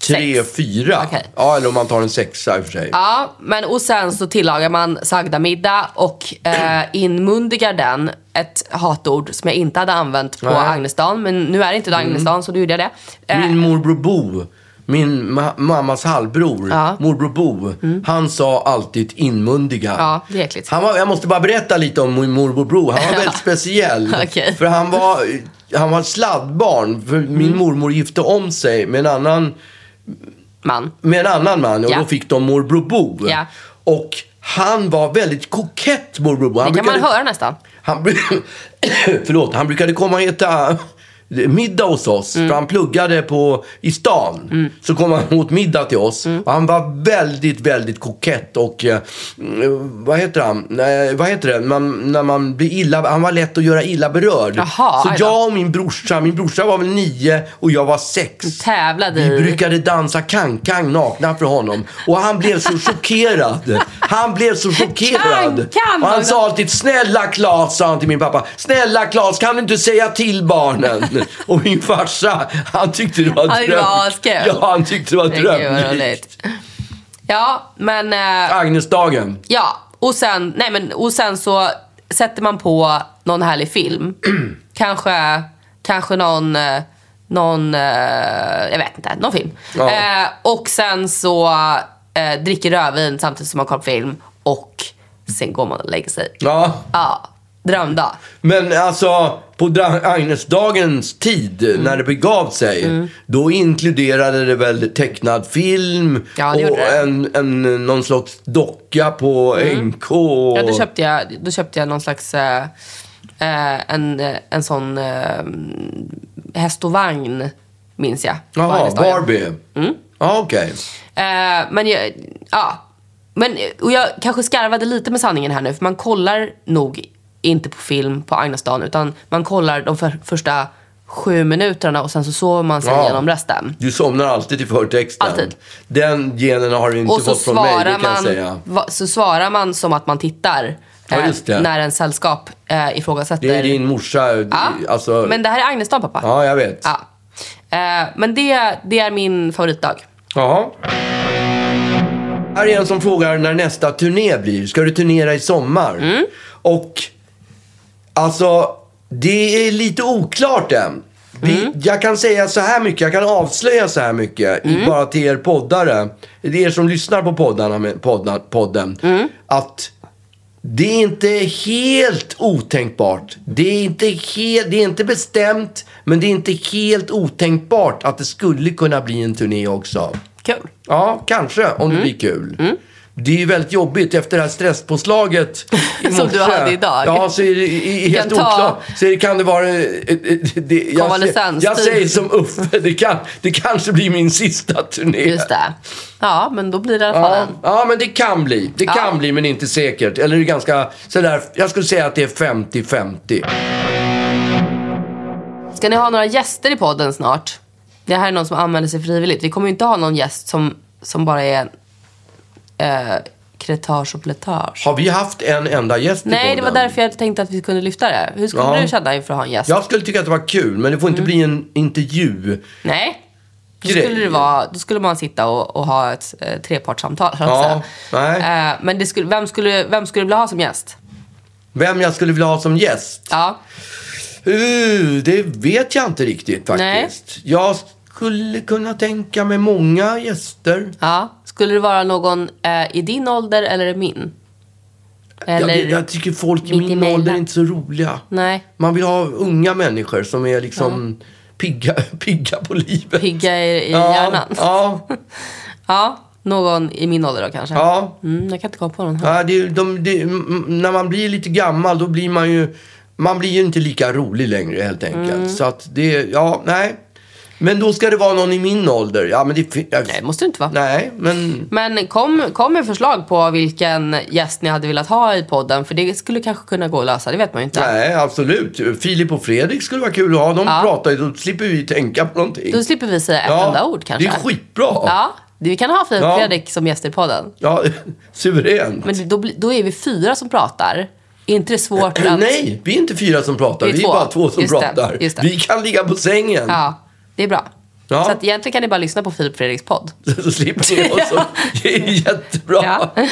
[SPEAKER 1] 3,
[SPEAKER 2] Sex.
[SPEAKER 1] 4.
[SPEAKER 2] Okej.
[SPEAKER 1] Ja, eller om man tar en sexa i och för sig.
[SPEAKER 2] Ja, men och sen så tillagar man sagda middag och eh, inmundigar den ett hatord som jag inte hade använt på
[SPEAKER 1] Nej. Mm.
[SPEAKER 2] Agnesdagen. Men nu är det inte Agnesdagen så då gjorde jag det. Eh,
[SPEAKER 1] Min morbror Bo, min ma- mammas halvbror,
[SPEAKER 2] Ja. Mm.
[SPEAKER 1] morbror Bo, han sa alltid inmundiga.
[SPEAKER 2] Ja, det är äckligt.
[SPEAKER 1] Han var, jag måste bara berätta lite om min morbror Bo. Han
[SPEAKER 2] <laughs>
[SPEAKER 1] var väldigt speciell.
[SPEAKER 2] Okej.
[SPEAKER 1] För han var,
[SPEAKER 2] Mm.
[SPEAKER 1] han var ett sladdbarn. För Min mormor gifte om sig med en annan
[SPEAKER 2] man.
[SPEAKER 1] med en annan man och
[SPEAKER 2] Ja.
[SPEAKER 1] då fick de morbror Bo.
[SPEAKER 2] Ja.
[SPEAKER 1] Och han var väldigt kokett, morbror Bo. Han
[SPEAKER 2] Det kan man
[SPEAKER 1] brukade-
[SPEAKER 2] höra nästan.
[SPEAKER 1] Han, bru- <coughs> förlåt, han brukade komma och äta middag hos oss. För han pluggade på, i stan. Så kom han åt middag till oss. Och han var väldigt, väldigt kokett och... Eh, vad heter han? Nej, vad heter det? Man, när man blir illa... Han var lätt att göra illa berörd.
[SPEAKER 2] Jaha,
[SPEAKER 1] så
[SPEAKER 2] aj då.
[SPEAKER 1] jag och min brorsa, min brorsa var väl nio och jag var sex.
[SPEAKER 2] Tävlade
[SPEAKER 1] Vi
[SPEAKER 2] i-
[SPEAKER 1] brukade dansa kankang nakna för honom. Och han blev så chockerad. Han blev så chockerad.
[SPEAKER 2] Kankan,
[SPEAKER 1] och han
[SPEAKER 2] Magnus.
[SPEAKER 1] sa alltid snälla Claes, sa han till min pappa. Snälla Claes, kan du inte säga till barnen? och min farsa, han tyckte det var
[SPEAKER 2] Han tyckte det
[SPEAKER 1] dröm.
[SPEAKER 2] var askul.
[SPEAKER 1] Ja, han tyckte det var
[SPEAKER 2] Men Gud vad
[SPEAKER 1] drömlikt.
[SPEAKER 2] roligt. Ja, men... eh,
[SPEAKER 1] Agnesdagen.
[SPEAKER 2] Ja, och sen, nej men, och sen så sätter man på någon härlig film. <clears throat> kanske, kanske någon, eh, någon eh, jag vet inte, någon film.
[SPEAKER 1] Ja.
[SPEAKER 2] Eh, och sen så eh, dricker rödvin samtidigt som man kollar på film och sen går man och lägger sig.
[SPEAKER 1] Ja,
[SPEAKER 2] Ja, drömdag.
[SPEAKER 1] Men alltså, på Dra- Agnesdagens tid,
[SPEAKER 2] Mm.
[SPEAKER 1] när det begav sig, då inkluderade det väl tecknad film
[SPEAKER 2] Ja, det
[SPEAKER 1] och
[SPEAKER 2] gjorde det.
[SPEAKER 1] En, en, någon slags docka på NK. Och...
[SPEAKER 2] Ja, då, köpte jag, då köpte jag någon slags... Eh, eh, en, eh, en sån eh, häst och vagn, minns jag. på
[SPEAKER 1] Jaha,
[SPEAKER 2] Agnesdagen. Mm.
[SPEAKER 1] Barbie. Ja, okej.
[SPEAKER 2] Eh, men jag, ja. Men, och jag kanske skarvade lite med sanningen här nu. För man kollar nog inte på film på Agnesdagen. Utan man kollar de för, första sju minuterna och sen så sover man sig
[SPEAKER 1] Ja.
[SPEAKER 2] genom resten.
[SPEAKER 1] Du somnar alltid till förtexten.
[SPEAKER 2] Alltid.
[SPEAKER 1] Den genen har du inte
[SPEAKER 2] Och så
[SPEAKER 1] fått från mig, det
[SPEAKER 2] svarar,
[SPEAKER 1] kan jag säga.
[SPEAKER 2] man, va, så svarar man som att man tittar.
[SPEAKER 1] Ja,
[SPEAKER 2] eh,
[SPEAKER 1] just det.
[SPEAKER 2] När en sällskap eh, ifrågasätter.
[SPEAKER 1] Det är din morsa.
[SPEAKER 2] ja.
[SPEAKER 1] Alltså,
[SPEAKER 2] Men det här är Agnesdagen pappa.
[SPEAKER 1] Ja, jag vet.
[SPEAKER 2] Ja. Eh, men det, det är min favoritdag.
[SPEAKER 1] Jaha. Här är en som frågar när nästa turné blir. Ska du turnera i sommar? Och alltså, det är lite oklart än. Vi, Jag kan säga så här mycket, jag kan avslöja så här mycket i, bara till er poddare. Det är er som lyssnar på poddarna med, podda, podden. Att det är inte helt otänkbart. Det är inte, helt, det är inte bestämt, men det är inte helt otänkbart att det skulle kunna bli en turné också.
[SPEAKER 2] Kul.
[SPEAKER 1] Ja, kanske. Om
[SPEAKER 2] Mm.
[SPEAKER 1] det blir kul. Det är ju väldigt jobbigt efter det här stresspåslaget i
[SPEAKER 2] <laughs> Som du
[SPEAKER 1] morse.
[SPEAKER 2] hade idag.
[SPEAKER 1] Ja, så är det i, i, helt
[SPEAKER 2] Kan ta-
[SPEAKER 1] oklart. Så det kan det vara... eh, eh, Det, jag,
[SPEAKER 2] Konvalescens,
[SPEAKER 1] jag
[SPEAKER 2] typ.
[SPEAKER 1] säger som Uffe, <laughs> det, kan, det kanske blir min sista turné.
[SPEAKER 2] Just det. Ja, men då blir det i alla fall
[SPEAKER 1] Ja,
[SPEAKER 2] en.
[SPEAKER 1] ja, men det kan bli. Det kan bli, men inte säkert. Eller det är ganska sådär, jag skulle säga att det är 50-50.
[SPEAKER 2] Ska ni ha några gäster i podden snart? Det här är någon som använder sig frivilligt. Vi kommer ju inte ha någon gäst som, som bara är eh, kretage och plätage.
[SPEAKER 1] Har vi haft en enda gäst i
[SPEAKER 2] Nej, det var
[SPEAKER 1] podden?
[SPEAKER 2] därför jag tänkte att vi kunde lyfta det. Hur skulle
[SPEAKER 1] Ja.
[SPEAKER 2] du känna inför att ha en gäst?
[SPEAKER 1] Jag skulle tycka att det var kul, men det får inte
[SPEAKER 2] Mm.
[SPEAKER 1] bli en intervju.
[SPEAKER 2] Nej. Då
[SPEAKER 1] Grej.
[SPEAKER 2] skulle, det vara, då skulle man sitta och, och ha ett eh, trepartssamtal. höll jag
[SPEAKER 1] Ja,
[SPEAKER 2] på att säga. Eh, men det skulle, vem, skulle, vem skulle du vilja ha som gäst?
[SPEAKER 1] Vem jag skulle vilja ha som gäst?
[SPEAKER 2] Ja.
[SPEAKER 1] Uh, det vet jag inte riktigt faktiskt. Jag skulle kunna tänka mig många gäster.
[SPEAKER 2] ja. Skulle det vara någon eh, i din ålder eller i min? Eller...
[SPEAKER 1] Jag, jag tycker folk i
[SPEAKER 2] mitt
[SPEAKER 1] min
[SPEAKER 2] emellan.
[SPEAKER 1] ålder är inte så roliga.
[SPEAKER 2] Nej.
[SPEAKER 1] Man vill ha unga människor som är liksom pigga, <laughs> pigga på livet.
[SPEAKER 2] Pigga i, i
[SPEAKER 1] ja,
[SPEAKER 2] hjärnan?
[SPEAKER 1] Ja,
[SPEAKER 2] Ja, någon i min ålder då kanske.
[SPEAKER 1] ja.
[SPEAKER 2] Mm, jag kan inte komma på någon. här.
[SPEAKER 1] ja det, är ju- de, det, m- när man blir lite gammal då blir man ju man blir ju inte lika rolig längre helt enkelt.
[SPEAKER 2] Mm.
[SPEAKER 1] Så att det, ja, nej. Men då ska det vara någon i min ålder. Ja, men det, fin- jag,
[SPEAKER 2] Nej, det måste det inte vara.
[SPEAKER 1] nej, men
[SPEAKER 2] Men kom, kom med förslag på vilken gäst ni hade velat ha i podden. För det skulle kanske kunna gå att lösa, det vet man ju inte.
[SPEAKER 1] Nej, absolut. Filip och Fredrik skulle vara kul att ha. De
[SPEAKER 2] Ja.
[SPEAKER 1] pratar ju, då slipper vi tänka på någonting.
[SPEAKER 2] Då slipper vi säga ett enda ord kanske.
[SPEAKER 1] Det är skitbra.
[SPEAKER 2] Ja, det- vi kan ha Filip
[SPEAKER 1] Ja.
[SPEAKER 2] och Fredrik som gäster i podden.
[SPEAKER 1] Ja, <laughs> suveränt.
[SPEAKER 2] Men det- då, bli- då är vi fyra som pratar. Är inte det svårt att...
[SPEAKER 1] Nej, vi är inte fyra som pratar.
[SPEAKER 2] Vi
[SPEAKER 1] Vi
[SPEAKER 2] är
[SPEAKER 1] är,
[SPEAKER 2] två.
[SPEAKER 1] bara två som
[SPEAKER 2] Just det,
[SPEAKER 1] pratar.
[SPEAKER 2] just det.
[SPEAKER 1] Vi kan ligga på sängen.
[SPEAKER 2] Ja, det är bra.
[SPEAKER 1] Ja.
[SPEAKER 2] Så att egentligen kan ni bara lyssna på Filip och Fredriks podd.
[SPEAKER 1] <laughs> Så slipper ni
[SPEAKER 2] <laughs>
[SPEAKER 1] oss. Det är jättebra.
[SPEAKER 2] Ja.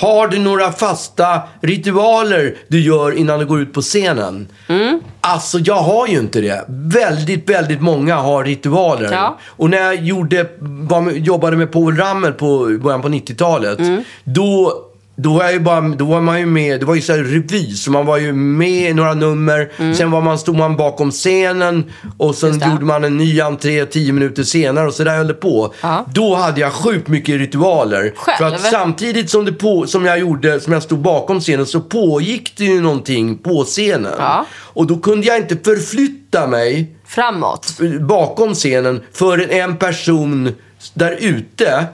[SPEAKER 1] Har du några fasta ritualer du gör innan du går ut på scenen?
[SPEAKER 2] Mm.
[SPEAKER 1] Alltså, jag har ju inte det. Väldigt, väldigt många har ritualer.
[SPEAKER 2] Ja.
[SPEAKER 1] Och när jag
[SPEAKER 2] Mm.
[SPEAKER 1] gjorde, var, med- jobbade med Povel Ramel på i början på 90-talet, då Då var, jag ju bara, då var man ju med, det var ju så här revy, så man var ju med i några nummer. Sen var man, stod man bakom scenen och sen
[SPEAKER 2] Mm. Just det.
[SPEAKER 1] gjorde man en ny entré tio minuter senare och så där höll det på.
[SPEAKER 2] Ja.
[SPEAKER 1] Då hade jag sjukt mycket ritualer. För
[SPEAKER 2] Själv?
[SPEAKER 1] att samtidigt som, det på, som jag gjorde, som jag stod bakom scenen, så pågick det ju någonting på scenen.
[SPEAKER 2] Ja.
[SPEAKER 1] Och då kunde jag inte förflytta mig
[SPEAKER 2] Framåt.
[SPEAKER 1] bakom scenen förrän en person där ute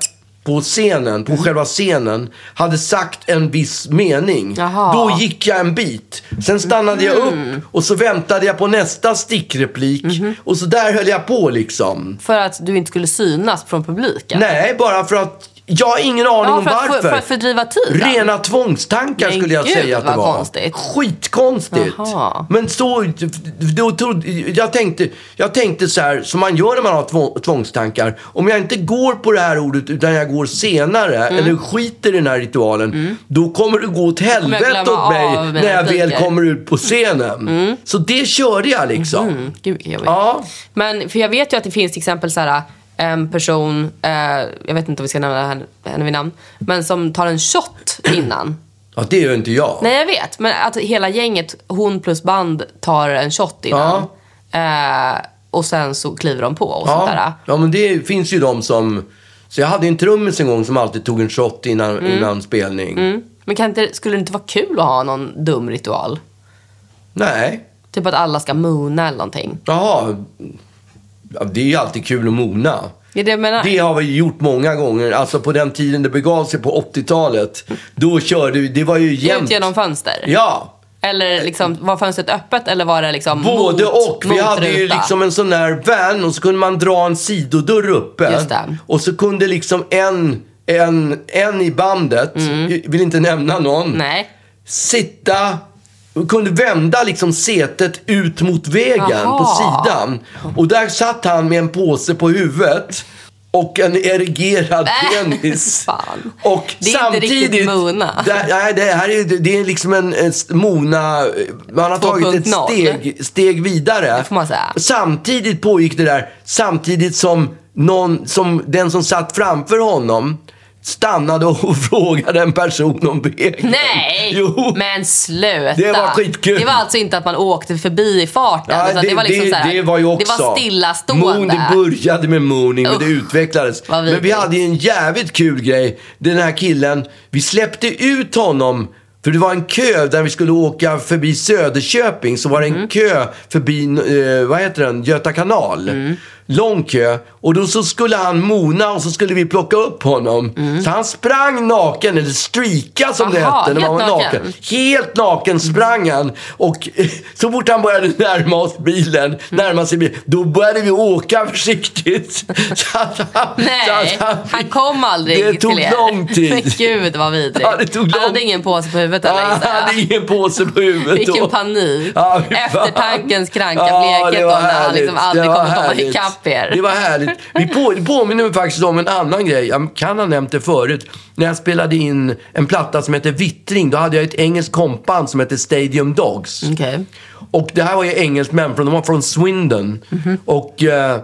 [SPEAKER 1] på scenen,
[SPEAKER 2] Mm.
[SPEAKER 1] på själva scenen, hade sagt en viss mening.
[SPEAKER 2] Jaha. Mm.
[SPEAKER 1] Då gick jag en bit. Sen stannade jag upp och så väntade jag på nästa stickreplik.
[SPEAKER 2] Mm-hmm.
[SPEAKER 1] Och så där höll jag på liksom.
[SPEAKER 2] För att du inte skulle synas från publiken.
[SPEAKER 1] Nej, bara för att jag har ingen aning
[SPEAKER 2] Ja,
[SPEAKER 1] om
[SPEAKER 2] för, att,
[SPEAKER 1] varför.
[SPEAKER 2] för, för att fördriva tiden.
[SPEAKER 1] Rena tvångstankar
[SPEAKER 2] Men
[SPEAKER 1] skulle jag
[SPEAKER 2] gud,
[SPEAKER 1] säga att det
[SPEAKER 2] vad
[SPEAKER 1] var.
[SPEAKER 2] konstigt.
[SPEAKER 1] Skitkonstigt.
[SPEAKER 2] Jaha.
[SPEAKER 1] Men så, då trodde, jag, tänkte, jag tänkte så här, som man gör när man har två- tvångstankar. Om jag inte går på det här ordet utan jag går senare eller skiter i den här ritualen. Då kommer det gå åt
[SPEAKER 2] Mm. kommer jag
[SPEAKER 1] helvete
[SPEAKER 2] glömma
[SPEAKER 1] åt mig
[SPEAKER 2] av mina
[SPEAKER 1] när jag väl
[SPEAKER 2] repliker.
[SPEAKER 1] kommer ut på scenen. Så det körde jag liksom.
[SPEAKER 2] Mm, Gud, vilken jobbig.
[SPEAKER 1] Ja.
[SPEAKER 2] Men för jag vet ju att det finns till exempel så här, en person, eh, jag vet inte om vi ska nämna henne, henne vid namn, men som tar
[SPEAKER 1] <clears throat>
[SPEAKER 2] en shot innan.
[SPEAKER 1] ja, det gör inte jag.
[SPEAKER 2] Nej jag vet, men att hela gänget, hon plus band, tar en shot innan. Eh, och sen så kliver de på och sånt där.
[SPEAKER 1] Ja, ja, men det finns ju de som... Så jag hade en trummis en gång som alltid tog en shot innan,
[SPEAKER 2] Mm.
[SPEAKER 1] innan spelning.
[SPEAKER 2] Men kan inte, skulle det inte vara kul att ha någon dum ritual?
[SPEAKER 1] Nej.
[SPEAKER 2] Typ att alla ska moona eller någonting.
[SPEAKER 1] Jaha. Ja, Det är ju alltid kul att mona.
[SPEAKER 2] Det är det jag menar.
[SPEAKER 1] Det har vi gjort många gånger. Alltså på den tiden det begav sig på 80-talet. Då körde vi, det var ju
[SPEAKER 2] Ut
[SPEAKER 1] jämnt.
[SPEAKER 2] genom fönster?
[SPEAKER 1] Ja,
[SPEAKER 2] Eller liksom, var fönstret öppet eller var det liksom
[SPEAKER 1] både
[SPEAKER 2] mot,
[SPEAKER 1] och. Vi
[SPEAKER 2] mot
[SPEAKER 1] hade ju
[SPEAKER 2] ruta?
[SPEAKER 1] liksom en sån där van och så kunde man dra en sidodörr uppe.
[SPEAKER 2] Just det.
[SPEAKER 1] Och så kunde liksom en, en, en i bandet, vill inte nämna någon.
[SPEAKER 2] Mm. Nej.
[SPEAKER 1] sitta och kunde vända liksom setet ut mot vägen
[SPEAKER 2] Jaha.
[SPEAKER 1] på sidan. Och där satt han med en påse på huvudet och en erigerad
[SPEAKER 2] Nej,
[SPEAKER 1] penis.
[SPEAKER 2] Äh, <laughs> fan.
[SPEAKER 1] Och
[SPEAKER 2] Det är inte
[SPEAKER 1] samtidigt...
[SPEAKER 2] riktigt Mona.
[SPEAKER 1] Där, nej, det här är, ju- det är liksom en, en s- Mona... Man har tagit ett
[SPEAKER 2] 2.0.
[SPEAKER 1] steg, steg vidare.
[SPEAKER 2] Det får man säga.
[SPEAKER 1] Samtidigt pågick det där, samtidigt som, någon, som den som satt framför honom stannade och <laughs> frågade en person om vägen.
[SPEAKER 2] Nej!
[SPEAKER 1] <laughs> Jo!
[SPEAKER 2] Men sluta!
[SPEAKER 1] Det var skitkul.
[SPEAKER 2] Det var alltså inte att man åkte förbi i farten.
[SPEAKER 1] Ja,
[SPEAKER 2] utan det, var liksom så här,
[SPEAKER 1] det var ju också.
[SPEAKER 2] Det var
[SPEAKER 1] Moon, det
[SPEAKER 2] stillastående.
[SPEAKER 1] började med mooning men det
[SPEAKER 2] Usch,
[SPEAKER 1] utvecklades.
[SPEAKER 2] vad
[SPEAKER 1] Men vi
[SPEAKER 2] vidrigt.
[SPEAKER 1] hade ju en jävligt kul grej. Den här killen, vi släppte ut honom. För det var en kö där vi skulle åka förbi Söderköping. Så var det en
[SPEAKER 2] Mm.
[SPEAKER 1] kö förbi, eh, vad heter den, Göta kanal.
[SPEAKER 2] Mm.
[SPEAKER 1] Lång kö. Och då så skulle han mona och så skulle vi plocka upp honom.
[SPEAKER 2] Mm.
[SPEAKER 1] Så han sprang naken, eller streaka som det
[SPEAKER 2] Aha,
[SPEAKER 1] hette när man var
[SPEAKER 2] helt
[SPEAKER 1] naken.
[SPEAKER 2] naken.
[SPEAKER 1] Helt naken sprang han och <laughs> så fort han började närma oss
[SPEAKER 2] Mm.
[SPEAKER 1] bilen, närma sig bilen, då började vi åka
[SPEAKER 2] <laughs>
[SPEAKER 1] försiktigt. Så att han, så
[SPEAKER 2] Nej,
[SPEAKER 1] att
[SPEAKER 2] han kom aldrig
[SPEAKER 1] Alltså, Det tog
[SPEAKER 2] till er.
[SPEAKER 1] lång tid.
[SPEAKER 2] Men <laughs> gud vad vidrigt.
[SPEAKER 1] Ja, det tog
[SPEAKER 2] Han
[SPEAKER 1] lång-
[SPEAKER 2] hade ingen påse på huvudet heller
[SPEAKER 1] Han
[SPEAKER 2] gissar jag.
[SPEAKER 1] hade ingen påse på huvudet
[SPEAKER 2] Vilken
[SPEAKER 1] då.
[SPEAKER 2] panik.
[SPEAKER 1] Ja, fy fan.
[SPEAKER 2] Eftertankens kranka
[SPEAKER 1] Ja,
[SPEAKER 2] blekhet
[SPEAKER 1] det var
[SPEAKER 2] då, när han
[SPEAKER 1] härligt.
[SPEAKER 2] liksom aldrig
[SPEAKER 1] Det var
[SPEAKER 2] kommer komma
[SPEAKER 1] härligt.
[SPEAKER 2] ikapp er.
[SPEAKER 1] Det var härligt. Vi på, det påminner mig faktiskt om en annan grej. Jag kan ha nämnt det förut. När jag spelade in en platta som hette Vittring, då hade jag ett engelskt kompband som hette Stadium Dogs.
[SPEAKER 2] Okej.
[SPEAKER 1] Och det här var ju engelsmän, från, de var från Swindon. Och eh,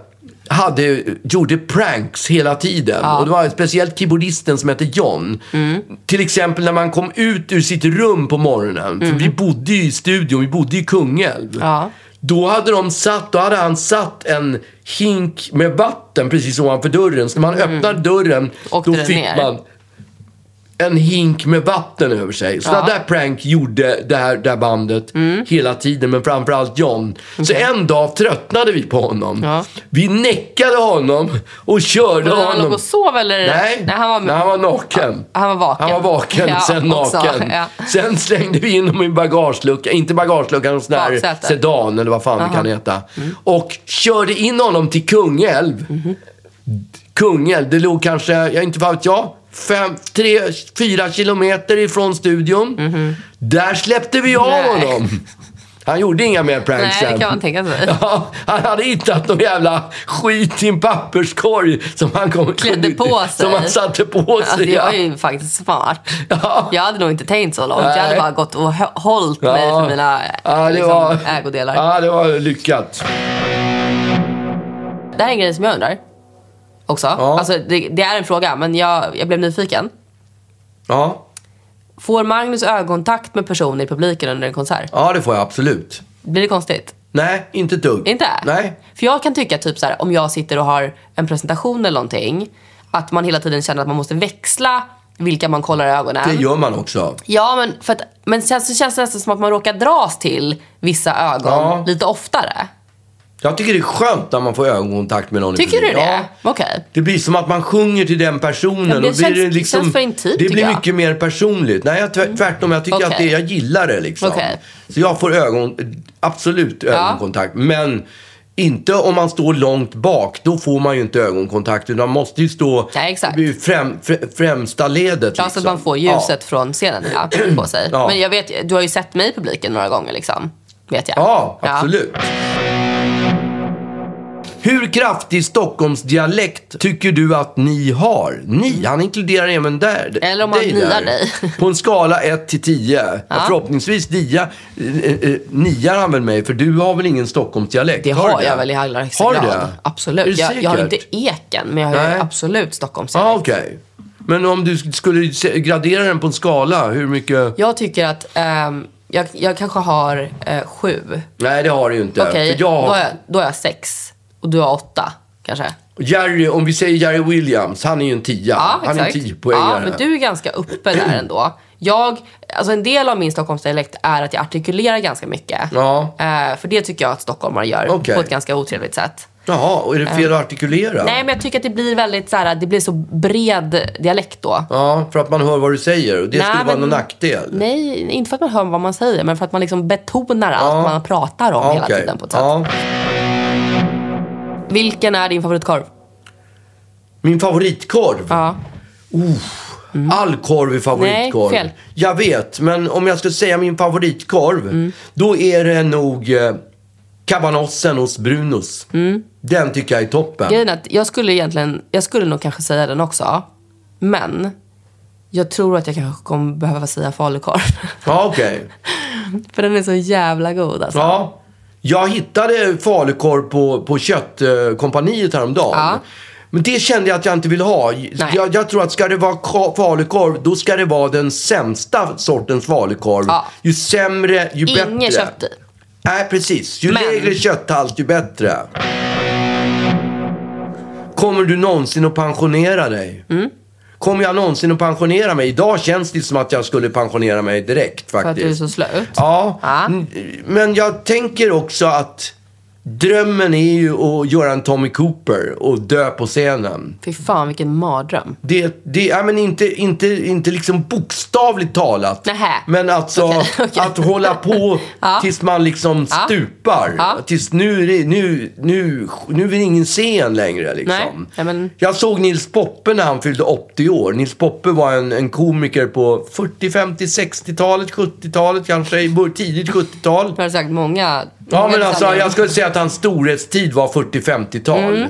[SPEAKER 1] hade, gjorde pranks hela tiden. Och det var speciellt keyboardisten som hette John.
[SPEAKER 2] Mm.
[SPEAKER 1] Till exempel när man kom ut ur sitt rum på morgonen. För vi bodde ju i studion, vi bodde i Kungälv.
[SPEAKER 2] Mm. Ja.
[SPEAKER 1] Då hade de satt, då hade han satt en hink med vatten precis ovanför dörren. Så när man öppnade dörren,
[SPEAKER 2] Mm. Åkte
[SPEAKER 1] då
[SPEAKER 2] den
[SPEAKER 1] fick
[SPEAKER 2] ner.
[SPEAKER 1] man en hink med vatten över sig. Sådana där prank gjorde det här, det här bandet
[SPEAKER 2] Mm.
[SPEAKER 1] hela tiden, men framförallt John. Så en dag tröttnade vi på honom.
[SPEAKER 2] Ja.
[SPEAKER 1] Vi näckade honom och körde
[SPEAKER 2] Men han
[SPEAKER 1] honom.
[SPEAKER 2] låg och sov eller?
[SPEAKER 1] Nej,
[SPEAKER 2] Nej, han var-
[SPEAKER 1] naken.
[SPEAKER 2] Ja, han var vaken.
[SPEAKER 1] Han var vaken,
[SPEAKER 2] Ja,
[SPEAKER 1] sen
[SPEAKER 2] också,
[SPEAKER 1] naken.
[SPEAKER 2] ja.
[SPEAKER 1] Sen slängde vi in honom i bagageluckan, inte bagageluckan, en sån här
[SPEAKER 2] Baksätet. Mm.
[SPEAKER 1] sedan eller vad fan det kan heta. Och körde in honom till Kungälv. Kungälv, det låg kanske, jag inte vad vet jag, fem, tre, fyra kilometer ifrån studion. Där släppte vi av
[SPEAKER 2] Mhm. Nej.
[SPEAKER 1] honom. Han gjorde inga mer pranks
[SPEAKER 2] Nej, det
[SPEAKER 1] sen.
[SPEAKER 2] kan man tänka sig.
[SPEAKER 1] <laughs> Ja, han hade hittat någon jävla skit i en papperskorg som han kom,
[SPEAKER 2] Klädde på sig.
[SPEAKER 1] Som han satte på
[SPEAKER 2] Ja,
[SPEAKER 1] sig.
[SPEAKER 2] det var
[SPEAKER 1] Alltså, ja.
[SPEAKER 2] ju faktiskt smart.
[SPEAKER 1] Ja.
[SPEAKER 2] Jag hade nog inte tänkt så långt.
[SPEAKER 1] Nej.
[SPEAKER 2] Jag hade bara gått och hö- hållit mig för mina eh,
[SPEAKER 1] Ja, det
[SPEAKER 2] liksom,
[SPEAKER 1] var-
[SPEAKER 2] ägodelar.
[SPEAKER 1] Ja, det var lyckat.
[SPEAKER 2] Det här är en grej som jag undrar. Också. Alltså, det, det är en fråga, men jag, jag blev nyfiken.
[SPEAKER 1] Ja.
[SPEAKER 2] Får Magnus ögonkontakt med personer i publiken under en konsert?
[SPEAKER 1] Ja, det får jag absolut.
[SPEAKER 2] Blir det konstigt?
[SPEAKER 1] Nej, inte ett dugg.
[SPEAKER 2] Inte?
[SPEAKER 1] Nej.
[SPEAKER 2] För jag kan tycka typ så här, om jag sitter och har en presentation eller någonting, att man hela tiden känner att man måste växla vilka man kollar i ögonen.
[SPEAKER 1] Det gör man också.
[SPEAKER 2] Ja, men, för att, men sen så känns det nästan som att man råkar dras till vissa ögon
[SPEAKER 1] Ja.
[SPEAKER 2] lite oftare.
[SPEAKER 1] Jag tycker det är skönt när man får ögonkontakt med någon i
[SPEAKER 2] Tycker du
[SPEAKER 1] publiken.
[SPEAKER 2] det?
[SPEAKER 1] Ja.
[SPEAKER 2] Okej.
[SPEAKER 1] Det blir som att man sjunger till den personen.
[SPEAKER 2] Ja, men det
[SPEAKER 1] och då är
[SPEAKER 2] känns- det känns för intimt,
[SPEAKER 1] Det
[SPEAKER 2] tycker
[SPEAKER 1] blir
[SPEAKER 2] jag. Mm.
[SPEAKER 1] mycket mer personligt. Nej, jag, tvärt- tvärtom. Jag tycker
[SPEAKER 2] Okej.
[SPEAKER 1] att det, jag gillar det liksom.
[SPEAKER 2] Okej.
[SPEAKER 1] Så jag får ögon, absolut ögonkontakt. Men inte om man står långt bak. Då får man ju inte ögonkontakt. Utan man måste ju stå
[SPEAKER 2] Nej, exakt.
[SPEAKER 1] i främ, frä- främsta ledet.
[SPEAKER 2] Ja, så
[SPEAKER 1] liksom.
[SPEAKER 2] att man får ljuset från scenen ja, på sig.
[SPEAKER 1] Ja.
[SPEAKER 2] Men jag vet, du har ju sett mig i publiken några gånger liksom. Vet jag.
[SPEAKER 1] Ja, absolut. Hur kraftig Stockholmsdialekt tycker du att ni har? Ni, han inkluderar även där.
[SPEAKER 2] Eller om han
[SPEAKER 1] dig
[SPEAKER 2] niar
[SPEAKER 1] där.
[SPEAKER 2] dig.
[SPEAKER 1] På en skala 1 till 10. Ja. Förhoppningsvis dia, eh, eh, niar han väl mig, för du har väl ingen Stockholmsdialekt?
[SPEAKER 2] Det har
[SPEAKER 1] du
[SPEAKER 2] jag väl i allra högsta
[SPEAKER 1] Har du
[SPEAKER 2] grad.
[SPEAKER 1] det? Är
[SPEAKER 2] Absolut.
[SPEAKER 1] du
[SPEAKER 2] Jag, jag har
[SPEAKER 1] säker?
[SPEAKER 2] inte eken, men jag har
[SPEAKER 1] Nej.
[SPEAKER 2] ju absolut Stockholms
[SPEAKER 1] Ja, okej. Men om du skulle se- gradera den på en skala, hur mycket?
[SPEAKER 2] Jag tycker att ehm, jag, jag kanske har eh, sju.
[SPEAKER 1] Nej, det har du ju inte.
[SPEAKER 2] Okej,
[SPEAKER 1] För jag
[SPEAKER 2] då,
[SPEAKER 1] har
[SPEAKER 2] har jag- då har jag sex. Och du har åtta, kanske.
[SPEAKER 1] Jerry, om vi säger Jerry Williams, han är ju en tia.
[SPEAKER 2] Ja,
[SPEAKER 1] han är en
[SPEAKER 2] exakt.
[SPEAKER 1] tiopoängare.
[SPEAKER 2] Ja, men du är ganska uppe där ändå. Jag, alltså en del av min Stockholmsdialekt är att jag artikulerar ganska mycket.
[SPEAKER 1] Ja.
[SPEAKER 2] Eh, för det tycker jag att stockholmare gör
[SPEAKER 1] Okej.
[SPEAKER 2] på ett ganska otrevligt sätt.
[SPEAKER 1] Jaha, och är det fel att artikulera?
[SPEAKER 2] Nej, men jag tycker att det blir väldigt så här, det blir så bred dialekt då.
[SPEAKER 1] Ja, för att man hör vad du säger. Och det
[SPEAKER 2] Nej,
[SPEAKER 1] skulle vara
[SPEAKER 2] men-
[SPEAKER 1] någon nackdel.
[SPEAKER 2] Nej, inte för att man hör vad man säger, men för att man liksom betonar allt man pratar om
[SPEAKER 1] Ja,
[SPEAKER 2] hela
[SPEAKER 1] okej.
[SPEAKER 2] tiden på ett sätt.
[SPEAKER 1] ja.
[SPEAKER 2] Vilken är din favoritkorv?
[SPEAKER 1] Min favoritkorv?
[SPEAKER 2] Ja. Mm.
[SPEAKER 1] All korv är favoritkorv.
[SPEAKER 2] Nej, fel.
[SPEAKER 1] Jag vet, men om jag ska säga min favoritkorv,
[SPEAKER 2] Mm.
[SPEAKER 1] då är det nog eh, kabanossen hos Brunos.
[SPEAKER 2] Mm.
[SPEAKER 1] Den tycker jag är toppen.
[SPEAKER 2] Grejen är att jag skulle egentligen, jag skulle nog kanske säga den också. Men jag tror att jag kanske kommer behöva säga falukorv. <laughs>
[SPEAKER 1] Ja, okej.
[SPEAKER 2] För den är så jävla god alltså.
[SPEAKER 1] Ja. Jag hittade falukorv på, på köttkompaniet häromdagen.
[SPEAKER 2] Ja.
[SPEAKER 1] Men det kände jag att jag inte vill ha. Jag, jag tror att ska det vara ka- falukorv, då ska det vara den sämsta sortens falukorv.
[SPEAKER 2] Ja.
[SPEAKER 1] Ju sämre, ju bättre.
[SPEAKER 2] Inget kött i.
[SPEAKER 1] Nej, precis. Ju
[SPEAKER 2] Men-
[SPEAKER 1] lägre kötthalt, ju bättre. Kommer du någonsin att pensionera dig?
[SPEAKER 2] Mm.
[SPEAKER 1] Kommer jag någonsin att pensionera mig? Idag känns det som att jag skulle pensionera mig direkt faktiskt.
[SPEAKER 2] För att du är så slut.
[SPEAKER 1] Ja,
[SPEAKER 2] Ja.
[SPEAKER 1] n- men jag tänker också att drömmen är ju att göra en Tommy Cooper och dö på scenen.
[SPEAKER 2] Fy fan vilken mardröm.
[SPEAKER 1] Det, det, ja, men inte, inte, inte liksom bokstavligt talat.
[SPEAKER 2] Nähä.
[SPEAKER 1] Men alltså
[SPEAKER 2] Okej, <laughs> okej.
[SPEAKER 1] att hålla på
[SPEAKER 2] <laughs> Ja.
[SPEAKER 1] tills man liksom
[SPEAKER 2] Ja.
[SPEAKER 1] stupar.
[SPEAKER 2] Ja.
[SPEAKER 1] Tills nu, är det- nu, nu, nu vill ingen se en längre liksom.
[SPEAKER 2] Nej, ja, men-
[SPEAKER 1] Jag såg Nils Poppe när han fyllde 80 år. Nils Poppe var en, en komiker på 40, 50, 60-talet, 70-talet kanske. i bör- Tidigt 70-tal.
[SPEAKER 2] Du har sagt många...
[SPEAKER 1] Ja,
[SPEAKER 2] många
[SPEAKER 1] men alltså
[SPEAKER 2] detaljer.
[SPEAKER 1] jag skulle säga att hans storhetstid var 40-50-tal.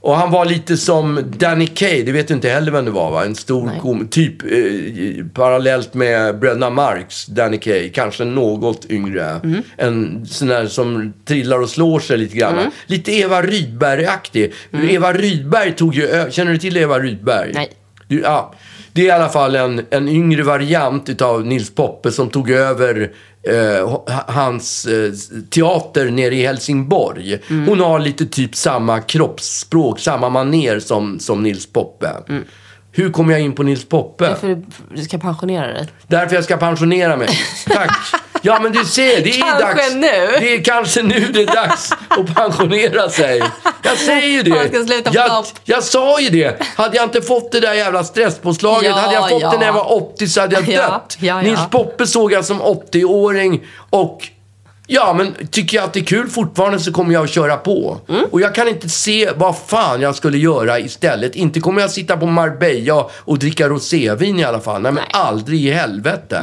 [SPEAKER 1] Och han var lite som Danny Kaye, det vet du inte heller vem det var va? En stor kom, typ eh, parallellt med Bröderna Marx, Danny Kaye. Kanske något yngre. En sån där som trillar och slår sig lite grann. Lite Eva Rydberg-aktig. Eva Rydberg tog ju, ö- känner du till Eva Rydberg?
[SPEAKER 2] Nej.
[SPEAKER 1] Du, ja, det är i alla fall en, en yngre variant utav Nils Poppe som tog över eh, h- hans eh, teater nere i Helsingborg. Hon har lite typ samma kroppsspråk, samma maner som, som Nils Poppe. Hur kom jag in på Nils Poppe?
[SPEAKER 2] För du- du ska pensionera dig.
[SPEAKER 1] Därför jag ska pensionera
[SPEAKER 2] <laughs>
[SPEAKER 1] mig. Tack. Ja, men du ser, det är
[SPEAKER 2] Kanske
[SPEAKER 1] dags.
[SPEAKER 2] nu.
[SPEAKER 1] Det är kanske nu det är dags att pensionera sig. Jag säger ju det.
[SPEAKER 2] Man ska sluta på
[SPEAKER 1] jag,
[SPEAKER 2] topp.
[SPEAKER 1] jag sa ju det. Hade jag inte fått det där jävla stresspåslaget,
[SPEAKER 2] Ja,
[SPEAKER 1] hade jag fått
[SPEAKER 2] ja.
[SPEAKER 1] det när jag var 80 så hade jag
[SPEAKER 2] Ja,
[SPEAKER 1] dött.
[SPEAKER 2] ja, ja.
[SPEAKER 1] Nils Poppe såg jag som 80-åring och Ja, men tycker jag att det är kul fortfarande så kommer jag att köra på.
[SPEAKER 2] Mm.
[SPEAKER 1] Och jag kan inte se vad fan jag skulle göra istället. Inte kommer jag sitta på Marbella och dricka rosévin i alla fall. Nej, men
[SPEAKER 2] Nej.
[SPEAKER 1] aldrig i helvete.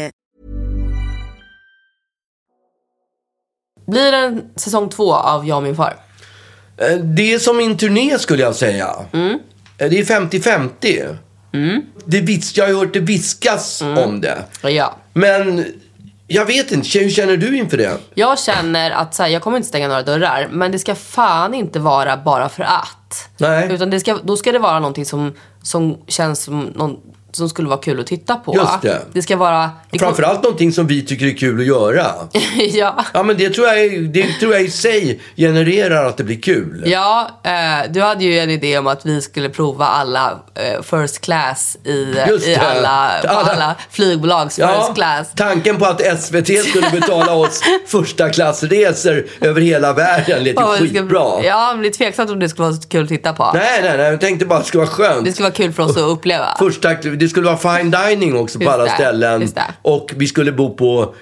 [SPEAKER 2] Blir det en säsong två av Jag och min far?
[SPEAKER 1] Eh, Det är som min turné skulle jag säga.
[SPEAKER 2] Mm.
[SPEAKER 1] Eh, Det är 50-50. Det vis- jag har ju hört det viskas
[SPEAKER 2] Mm.
[SPEAKER 1] om det.
[SPEAKER 2] Ja.
[SPEAKER 1] Men jag vet inte, hur känner du inför det?
[SPEAKER 2] Jag känner att så här, jag kommer inte stänga några dörrar, men det ska fan inte vara bara för att.
[SPEAKER 1] Nej.
[SPEAKER 2] Utan det ska, då ska det vara någonting som, som känns som någon, som skulle vara kul att titta på.
[SPEAKER 1] Just det.
[SPEAKER 2] Det ska vara... Det kom-
[SPEAKER 1] Framförallt någonting som vi tycker är kul att göra.
[SPEAKER 2] <laughs> ja.
[SPEAKER 1] Ja, men det tror jag, är- det tror jag i sig genererar att det blir kul.
[SPEAKER 2] Ja, eh, du hade ju en idé om att vi skulle prova alla eh, first class i, eh,
[SPEAKER 1] Just
[SPEAKER 2] i
[SPEAKER 1] det.
[SPEAKER 2] alla, på
[SPEAKER 1] Alla-
[SPEAKER 2] alla flygbolags first class.
[SPEAKER 1] tanken på att SVT skulle betala
[SPEAKER 2] <laughs>
[SPEAKER 1] oss första klassresor över hela världen lät
[SPEAKER 2] Ja,
[SPEAKER 1] ju
[SPEAKER 2] det ska-
[SPEAKER 1] skitbra.
[SPEAKER 2] Ja, men det är tveksamt om det skulle vara så kul att titta på.
[SPEAKER 1] Nej, nej, nej. Jag tänkte bara att det skulle vara skönt.
[SPEAKER 2] Det skulle vara kul för oss att uppleva.
[SPEAKER 1] Första, det skulle vara fine dining också på
[SPEAKER 2] Just
[SPEAKER 1] alla
[SPEAKER 2] det,
[SPEAKER 1] ställen.
[SPEAKER 2] just det.
[SPEAKER 1] Och vi skulle bo på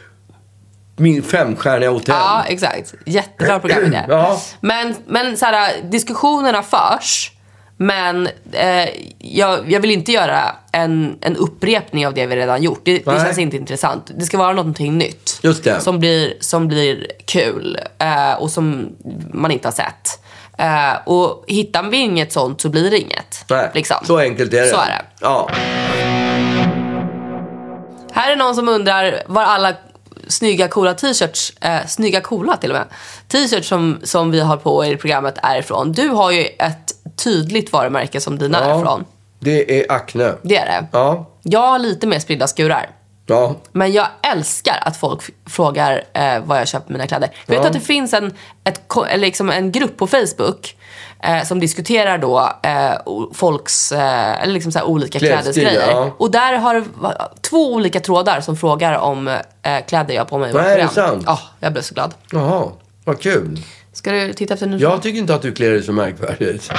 [SPEAKER 1] min femstjärniga hotell.
[SPEAKER 2] Ja, exakt. Jättebra programidé.
[SPEAKER 1] Ja.
[SPEAKER 2] Men, men så här, diskussionerna förs. Men eh, jag, jag vill inte göra en, en upprepning av det vi redan gjort. Det, det
[SPEAKER 1] Nej.
[SPEAKER 2] känns inte intressant. Det ska vara någonting nytt.
[SPEAKER 1] Just det.
[SPEAKER 2] Som blir, som blir kul eh, och som man inte har sett. Eh, och hittar vi inget sånt så blir det inget.
[SPEAKER 1] Nej,
[SPEAKER 2] liksom.
[SPEAKER 1] Så enkelt är det.
[SPEAKER 2] Så är det.
[SPEAKER 1] Ja.
[SPEAKER 2] Här är någon som undrar var alla snygga coola t-shirts, eh, snygga coola till och med, t-shirts som, som vi har på i programmet är ifrån. Du har ju ett tydligt varumärke som dina är ifrån.
[SPEAKER 1] Det är Acne.
[SPEAKER 2] Det är det.
[SPEAKER 1] Ja.
[SPEAKER 2] Jag har lite mer spridda skurar.
[SPEAKER 1] Ja.
[SPEAKER 2] Men jag älskar att folk f- frågar eh, var jag köper mina kläder. Vet du att det finns en, ett, ko- eller liksom en grupp på Facebook eh, som diskuterar då eh, o- folks eh, eller liksom så här olika
[SPEAKER 1] Klädstilar,
[SPEAKER 2] klädesgrejer.
[SPEAKER 1] ja.
[SPEAKER 2] Och där har det va- två olika trådar som frågar om eh, kläder jag har på mig. i vårt
[SPEAKER 1] Nej, är det
[SPEAKER 2] program.
[SPEAKER 1] sant?
[SPEAKER 2] Ja, jag blev så glad.
[SPEAKER 1] Jaha. Vad kul.
[SPEAKER 2] Ska du titta efter nu?
[SPEAKER 1] Jag tycker inte att du klär dig så märkvärdigt.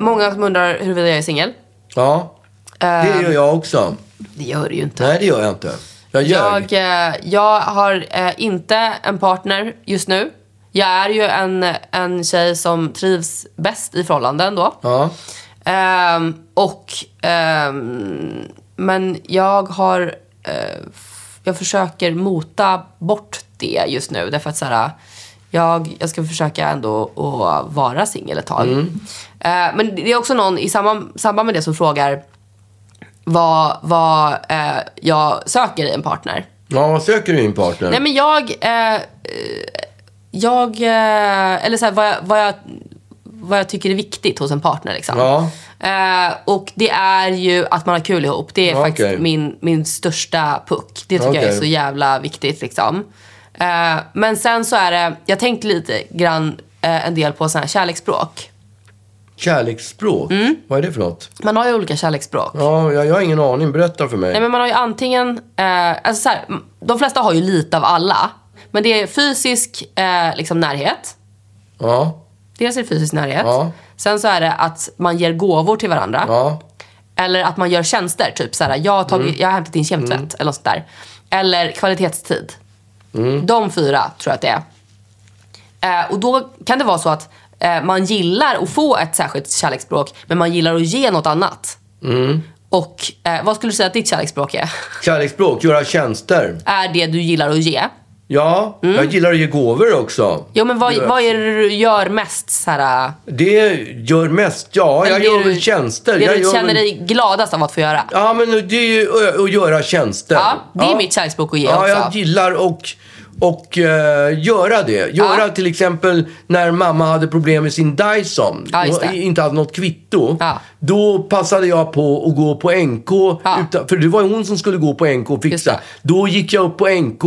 [SPEAKER 2] Många som undrar huruvida jag är singel.
[SPEAKER 1] Ja. Det
[SPEAKER 2] Ehm.
[SPEAKER 1] gör jag också.
[SPEAKER 2] Det gör du ju inte.
[SPEAKER 1] Nej, det gör jag inte. Jag ljög.
[SPEAKER 2] Jag, eh, jag har eh, inte en partner just nu. Jag är ju en, en tjej som trivs bäst i förhållanden då.
[SPEAKER 1] Ja.
[SPEAKER 2] Ehm, och, ehm, men jag har... eh, f- jag försöker mota bort det just nu. Därför att så här, jag, jag ska försöka ändå att vara singel ett tag.
[SPEAKER 1] Mm.
[SPEAKER 2] Eh, men det är också någon i samband, samband med det som frågar vad, vad eh, jag söker i en partner.
[SPEAKER 1] Ja, vad söker du i en partner?
[SPEAKER 2] Nej men jag... Eh, eh, jag... Eh, eller så här, vad, jag, vad, jag, vad jag tycker är viktigt hos en partner liksom.
[SPEAKER 1] Ja.
[SPEAKER 2] Eh, och det är ju att man har kul ihop. Det är
[SPEAKER 1] Ja,
[SPEAKER 2] faktiskt
[SPEAKER 1] okej.
[SPEAKER 2] min, min största puck. Det tycker jag är
[SPEAKER 1] Okej.
[SPEAKER 2] så jävla viktigt liksom. Eh, men sen så är det... Jag tänkte lite grann eh, en del på såna här kärleksspråk.
[SPEAKER 1] Kärleksspråk?
[SPEAKER 2] Mm.
[SPEAKER 1] Vad är det för något?
[SPEAKER 2] Man har ju olika kärleksspråk.
[SPEAKER 1] Ja, jag, jag har ingen aning. Berätta för mig.
[SPEAKER 2] Nej, men man har ju antingen... Eh, alltså så här, m- de flesta har ju lite av alla. Men det är fysisk eh, liksom närhet.
[SPEAKER 1] Ja.
[SPEAKER 2] Dels är det fysisk närhet.
[SPEAKER 1] Ja.
[SPEAKER 2] Sen så är det att man ger gåvor till varandra.
[SPEAKER 1] Ja. Mm.
[SPEAKER 2] Eller att man gör tjänster. Typ så här, jag, har tagit, jag har hämtat din kemtvätt. Eller något sånt där. Eller kvalitetstid.
[SPEAKER 1] Mm.
[SPEAKER 2] De fyra tror jag att det är. Eh, och då kan det vara så att eh, man gillar att få ett särskilt kärleksspråk. Men man gillar att ge något annat.
[SPEAKER 1] Mm.
[SPEAKER 2] Och eh, vad skulle du säga att ditt kärleksspråk är? <laughs>
[SPEAKER 1] Kärleksspråk, göra tjänster.
[SPEAKER 2] är det du gillar att ge.
[SPEAKER 1] Ja,
[SPEAKER 2] Mm.
[SPEAKER 1] jag gillar att ge gåvor också.
[SPEAKER 2] Jo, men vad,
[SPEAKER 1] Gör-
[SPEAKER 2] vad är det du gör mest? Så här, äh,
[SPEAKER 1] Det gör mest, ja, jag
[SPEAKER 2] det
[SPEAKER 1] gör
[SPEAKER 2] du,
[SPEAKER 1] väl tjänster.
[SPEAKER 2] Det
[SPEAKER 1] jag
[SPEAKER 2] du
[SPEAKER 1] gör
[SPEAKER 2] känner
[SPEAKER 1] väl-
[SPEAKER 2] dig gladast av att få göra. Ja,
[SPEAKER 1] Ja, men det är ju ö- att göra tjänster.
[SPEAKER 2] det är mitt kärleksspråk att ge
[SPEAKER 1] Ja,
[SPEAKER 2] också.
[SPEAKER 1] jag gillar och, Och eh, göra det. Göra
[SPEAKER 2] Ja.
[SPEAKER 1] till exempel när mamma hade problem med sin Dyson.
[SPEAKER 2] Ja, just det.
[SPEAKER 1] och inte hade något kvitto.
[SPEAKER 2] Ja.
[SPEAKER 1] Då passade jag på att gå på NK.
[SPEAKER 2] Ja.
[SPEAKER 1] Utan, för det var ju hon som skulle gå på NK och
[SPEAKER 2] Just det.
[SPEAKER 1] fixa.
[SPEAKER 2] Mm.
[SPEAKER 1] Då gick jag upp på NK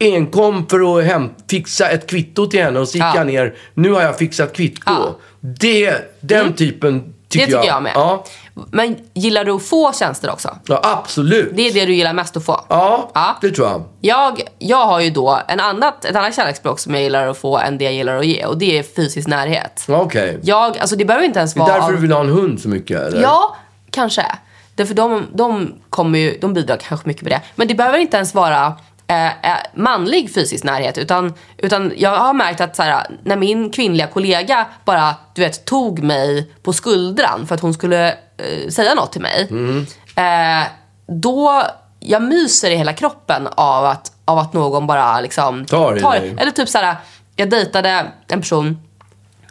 [SPEAKER 1] enkom för att hem, fixa ett kvitto till henne. Och så gick
[SPEAKER 2] Ja.
[SPEAKER 1] jag ner. Nu har jag fixat kvitto.
[SPEAKER 2] Ja. Mm.
[SPEAKER 1] Det, den typen tycker
[SPEAKER 2] det
[SPEAKER 1] jag.
[SPEAKER 2] tycker jag, med.
[SPEAKER 1] Ja.
[SPEAKER 2] Men gillar du att få tjänster också?
[SPEAKER 1] ja, absolut.
[SPEAKER 2] Det är det du gillar mest att få?
[SPEAKER 1] Ja,
[SPEAKER 2] Ja.
[SPEAKER 1] det tror jag.
[SPEAKER 2] Jag, jag har ju då en annat, ett annat kärleksspråk som jag gillar att få än det jag gillar att ge och det är fysisk närhet.
[SPEAKER 1] Ja, Okej.
[SPEAKER 2] Jag, alltså det behöver inte ens
[SPEAKER 1] Det är
[SPEAKER 2] vara...
[SPEAKER 1] därför
[SPEAKER 2] av-
[SPEAKER 1] du vill ha en hund så mycket? Eller?
[SPEAKER 2] Ja, kanske. Därför de, de, kommer ju, de bidrar kanske mycket med det. Men det behöver inte ens vara eh, eh, manlig fysisk närhet. Utan, utan jag har märkt att så här, när min kvinnliga kollega bara du vet, tog mig på skuldran för att hon skulle eh, säga något till mig.
[SPEAKER 1] Mm.
[SPEAKER 2] Eh, då jag myser i hela kroppen av att, av att någon bara liksom
[SPEAKER 1] Tar i dig.
[SPEAKER 2] Eller typ så här, jag dejtade en person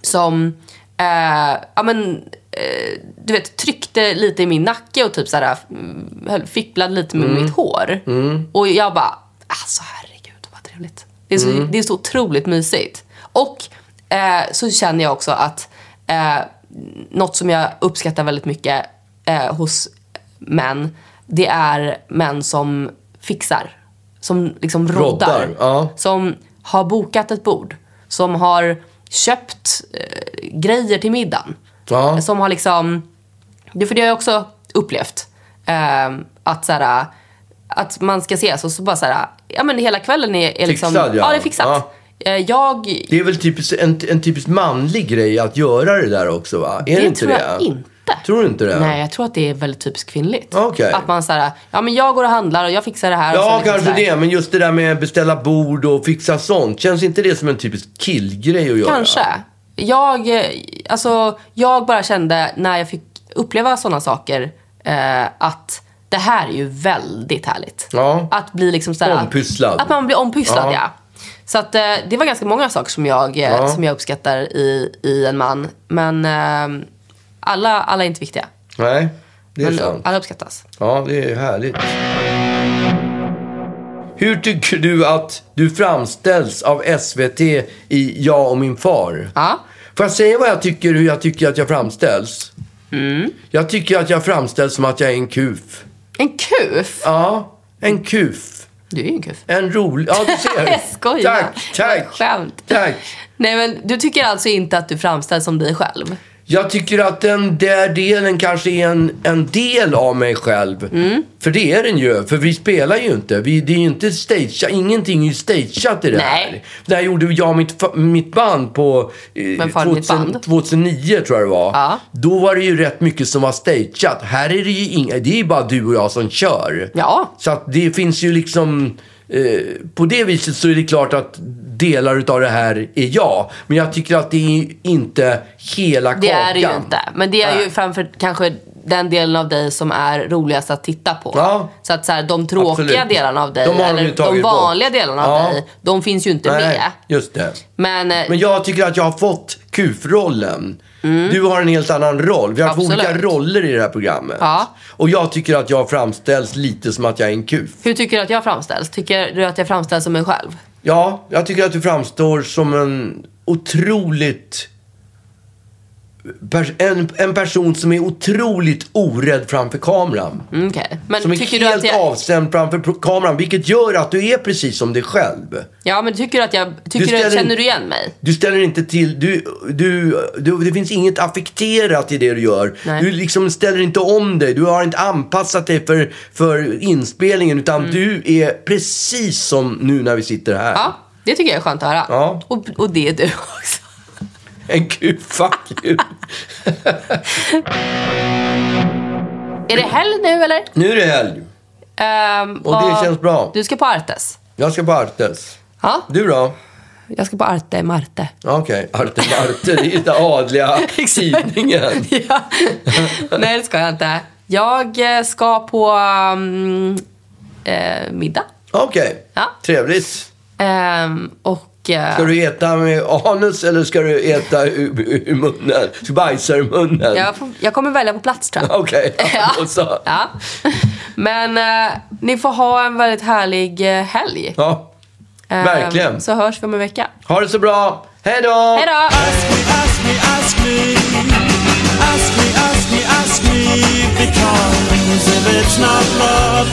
[SPEAKER 2] som eh, ja, men, eh, du vet, tryckte lite i min nacke och typ så här, mm, höll- fipplade lite med mitt hår. Och jag bara, alltså herregud vad trevligt. Det är så, det är så otroligt mysigt. Och eh, så känner jag också att eh, något som jag uppskattar väldigt mycket eh, hos män, det är män som fixar. Som liksom roddar.
[SPEAKER 1] Roddar, ja.
[SPEAKER 2] Som har bokat ett bord. Som har köpt eh, grejer till middagen.
[SPEAKER 1] Ja.
[SPEAKER 2] Som har liksom... Det, för det har jag också upplevt. Ehm, att, så här, att man ska ses och så bara så här, ja men hela kvällen är, är liksom...
[SPEAKER 1] Fixad, ja.
[SPEAKER 2] det är fixat.
[SPEAKER 1] Ja.
[SPEAKER 2] Eh, jag...
[SPEAKER 1] Det är väl typiskt, en, en typiskt manlig grej att göra det där också va? Är det, inte
[SPEAKER 2] tror
[SPEAKER 1] det?
[SPEAKER 2] jag inte.
[SPEAKER 1] Tror du inte det?
[SPEAKER 2] Nej, jag tror att det är väldigt typiskt kvinnligt.
[SPEAKER 1] Okej.
[SPEAKER 2] Att man såhär, ja men jag går och handlar och jag fixar det här. och
[SPEAKER 1] Ja,
[SPEAKER 2] sen liksom
[SPEAKER 1] kanske
[SPEAKER 2] så här.
[SPEAKER 1] det. Men just det där med beställa bord och fixa sånt. Känns inte det som en typisk killgrej att göra?
[SPEAKER 2] Kanske. Jag, eh, alltså, jag bara kände när jag fick uppleva sådana saker eh, att det här är ju väldigt härligt.
[SPEAKER 1] Ja.
[SPEAKER 2] Att bli liksom såhär,
[SPEAKER 1] Ompysslad.
[SPEAKER 2] Att man blir ompysslad,
[SPEAKER 1] Ja.
[SPEAKER 2] ja. Så att, eh, det var ganska många saker som jag, eh,
[SPEAKER 1] Ja.
[SPEAKER 2] som jag uppskattar i, i en man. Men eh, alla, alla är inte viktiga.
[SPEAKER 1] Nej, det är
[SPEAKER 2] Men
[SPEAKER 1] sant.
[SPEAKER 2] alla uppskattas.
[SPEAKER 1] Ja, det är härligt. Hur tycker du att du framställs av SVT i Jag och min far?
[SPEAKER 2] Ja.
[SPEAKER 1] Får jag säga vad jag tycker, hur jag tycker att jag framställs?
[SPEAKER 2] Mm.
[SPEAKER 1] Jag tycker att jag framställs som att jag är en kuf.
[SPEAKER 2] En kuf?
[SPEAKER 1] Ja, en kuf.
[SPEAKER 2] Du är ju en kuf.
[SPEAKER 1] En rolig... Ja, du ser.
[SPEAKER 2] <laughs> Jag skojar.
[SPEAKER 1] Tack, tack.
[SPEAKER 2] Skämt.
[SPEAKER 1] Tack.
[SPEAKER 2] Nej men du tycker alltså inte att du framställs som dig själv?
[SPEAKER 1] Jag tycker att den där delen kanske är en, en del av mig själv.
[SPEAKER 2] Mm.
[SPEAKER 1] För det är den ju. För vi spelar ju inte. Vi, det är ju inte stageat. Ingenting är ju stageat i det här.
[SPEAKER 2] Nej.
[SPEAKER 1] Det här gjorde jag och mitt, fa- mitt band på eh,
[SPEAKER 2] Vem fan är ditt band?
[SPEAKER 1] 2009 tror jag det var.
[SPEAKER 2] Ja.
[SPEAKER 1] Då var det ju rätt mycket som var stageat. Här är det ju inga, det är ju bara du och jag som kör.
[SPEAKER 2] Ja.
[SPEAKER 1] Så att det finns ju liksom... Eh, på det viset så är det klart att delar utav det här är jag. Men jag tycker att det är inte hela kakan.
[SPEAKER 2] Det är det ju inte. Men det är
[SPEAKER 1] Nej.
[SPEAKER 2] ju framför kanske den delen av dig som är roligast att titta på.
[SPEAKER 1] Ja.
[SPEAKER 2] Så att så här, de tråkiga
[SPEAKER 1] Absolut.
[SPEAKER 2] delarna av dig,
[SPEAKER 1] De har de ju
[SPEAKER 2] eller de
[SPEAKER 1] tagit bort.
[SPEAKER 2] vanliga delarna av
[SPEAKER 1] Ja.
[SPEAKER 2] dig, de finns ju inte med.
[SPEAKER 1] just det.
[SPEAKER 2] Men, eh,
[SPEAKER 1] Men jag tycker att jag har fått kufrollen. Du har en helt annan roll. Vi har haft
[SPEAKER 2] Mm. Absolut.
[SPEAKER 1] olika roller i det här programmet.
[SPEAKER 2] Ja.
[SPEAKER 1] Och jag tycker att jag framställs lite som att jag är en kuf.
[SPEAKER 2] hur tycker du att jag framställs? Tycker du att jag framställs som mig själv?
[SPEAKER 1] Ja, jag tycker att du framstår som en otroligt... pers- En, en person som är otroligt orädd framför kameran.
[SPEAKER 2] Mm, okej. Men
[SPEAKER 1] Som är
[SPEAKER 2] tycker du
[SPEAKER 1] helt
[SPEAKER 2] att jag...
[SPEAKER 1] avstämd framför pro- kameran, vilket gör att du är precis som dig själv.
[SPEAKER 2] Ja, men tycker du att jag... Tycker du
[SPEAKER 1] ställer in-
[SPEAKER 2] känner du igen mig?
[SPEAKER 1] Du ställer inte till, du, du, du, det finns inget affekterat i det du gör.
[SPEAKER 2] Nej.
[SPEAKER 1] Du liksom ställer inte om dig, du har inte anpassat dig för, för inspelningen utan
[SPEAKER 2] Mm.
[SPEAKER 1] du är precis som nu när vi sitter här.
[SPEAKER 2] Ja, det tycker jag är skönt att höra.
[SPEAKER 1] Ja.
[SPEAKER 2] Och, och det är du också.
[SPEAKER 1] <laughs> En gud, fuck you.
[SPEAKER 2] Är det helg nu eller?
[SPEAKER 1] nu är det helg
[SPEAKER 2] Ehm,
[SPEAKER 1] och det
[SPEAKER 2] vad-
[SPEAKER 1] känns bra.
[SPEAKER 2] Du ska på Artes.
[SPEAKER 1] Jag ska på Artes.
[SPEAKER 2] Ja,
[SPEAKER 1] Du då?
[SPEAKER 2] jag ska på Arte Marte.
[SPEAKER 1] Ja, Okej, Arte Marte, det är den adliga
[SPEAKER 2] <laughs> Exakt.
[SPEAKER 1] tidningen.
[SPEAKER 2] <laughs> ja. Nej, det ska jag inte. Jag eh, ska på um, eh, middag.
[SPEAKER 1] Okej,
[SPEAKER 2] Ja.
[SPEAKER 1] trevligt.
[SPEAKER 2] Ehm, och... eh,
[SPEAKER 1] Ska du äta med anus eller ska du äta ur, ur munnen? Ska du bajsa ur munnen?
[SPEAKER 2] jag, får, jag kommer välja på plats, tror
[SPEAKER 1] <laughs>
[SPEAKER 2] jag.
[SPEAKER 1] Okej, ja. då så.
[SPEAKER 2] <laughs> ja. Men eh, ni får ha en väldigt härlig eh, helg.
[SPEAKER 1] Ja.
[SPEAKER 2] Ehm,
[SPEAKER 1] Verkligen.
[SPEAKER 2] Så hörs vi om en vecka.
[SPEAKER 1] Ha det så bra. Hej då!
[SPEAKER 2] Hej då!
[SPEAKER 5] Ask me, ask me, ask me, because if it's not love,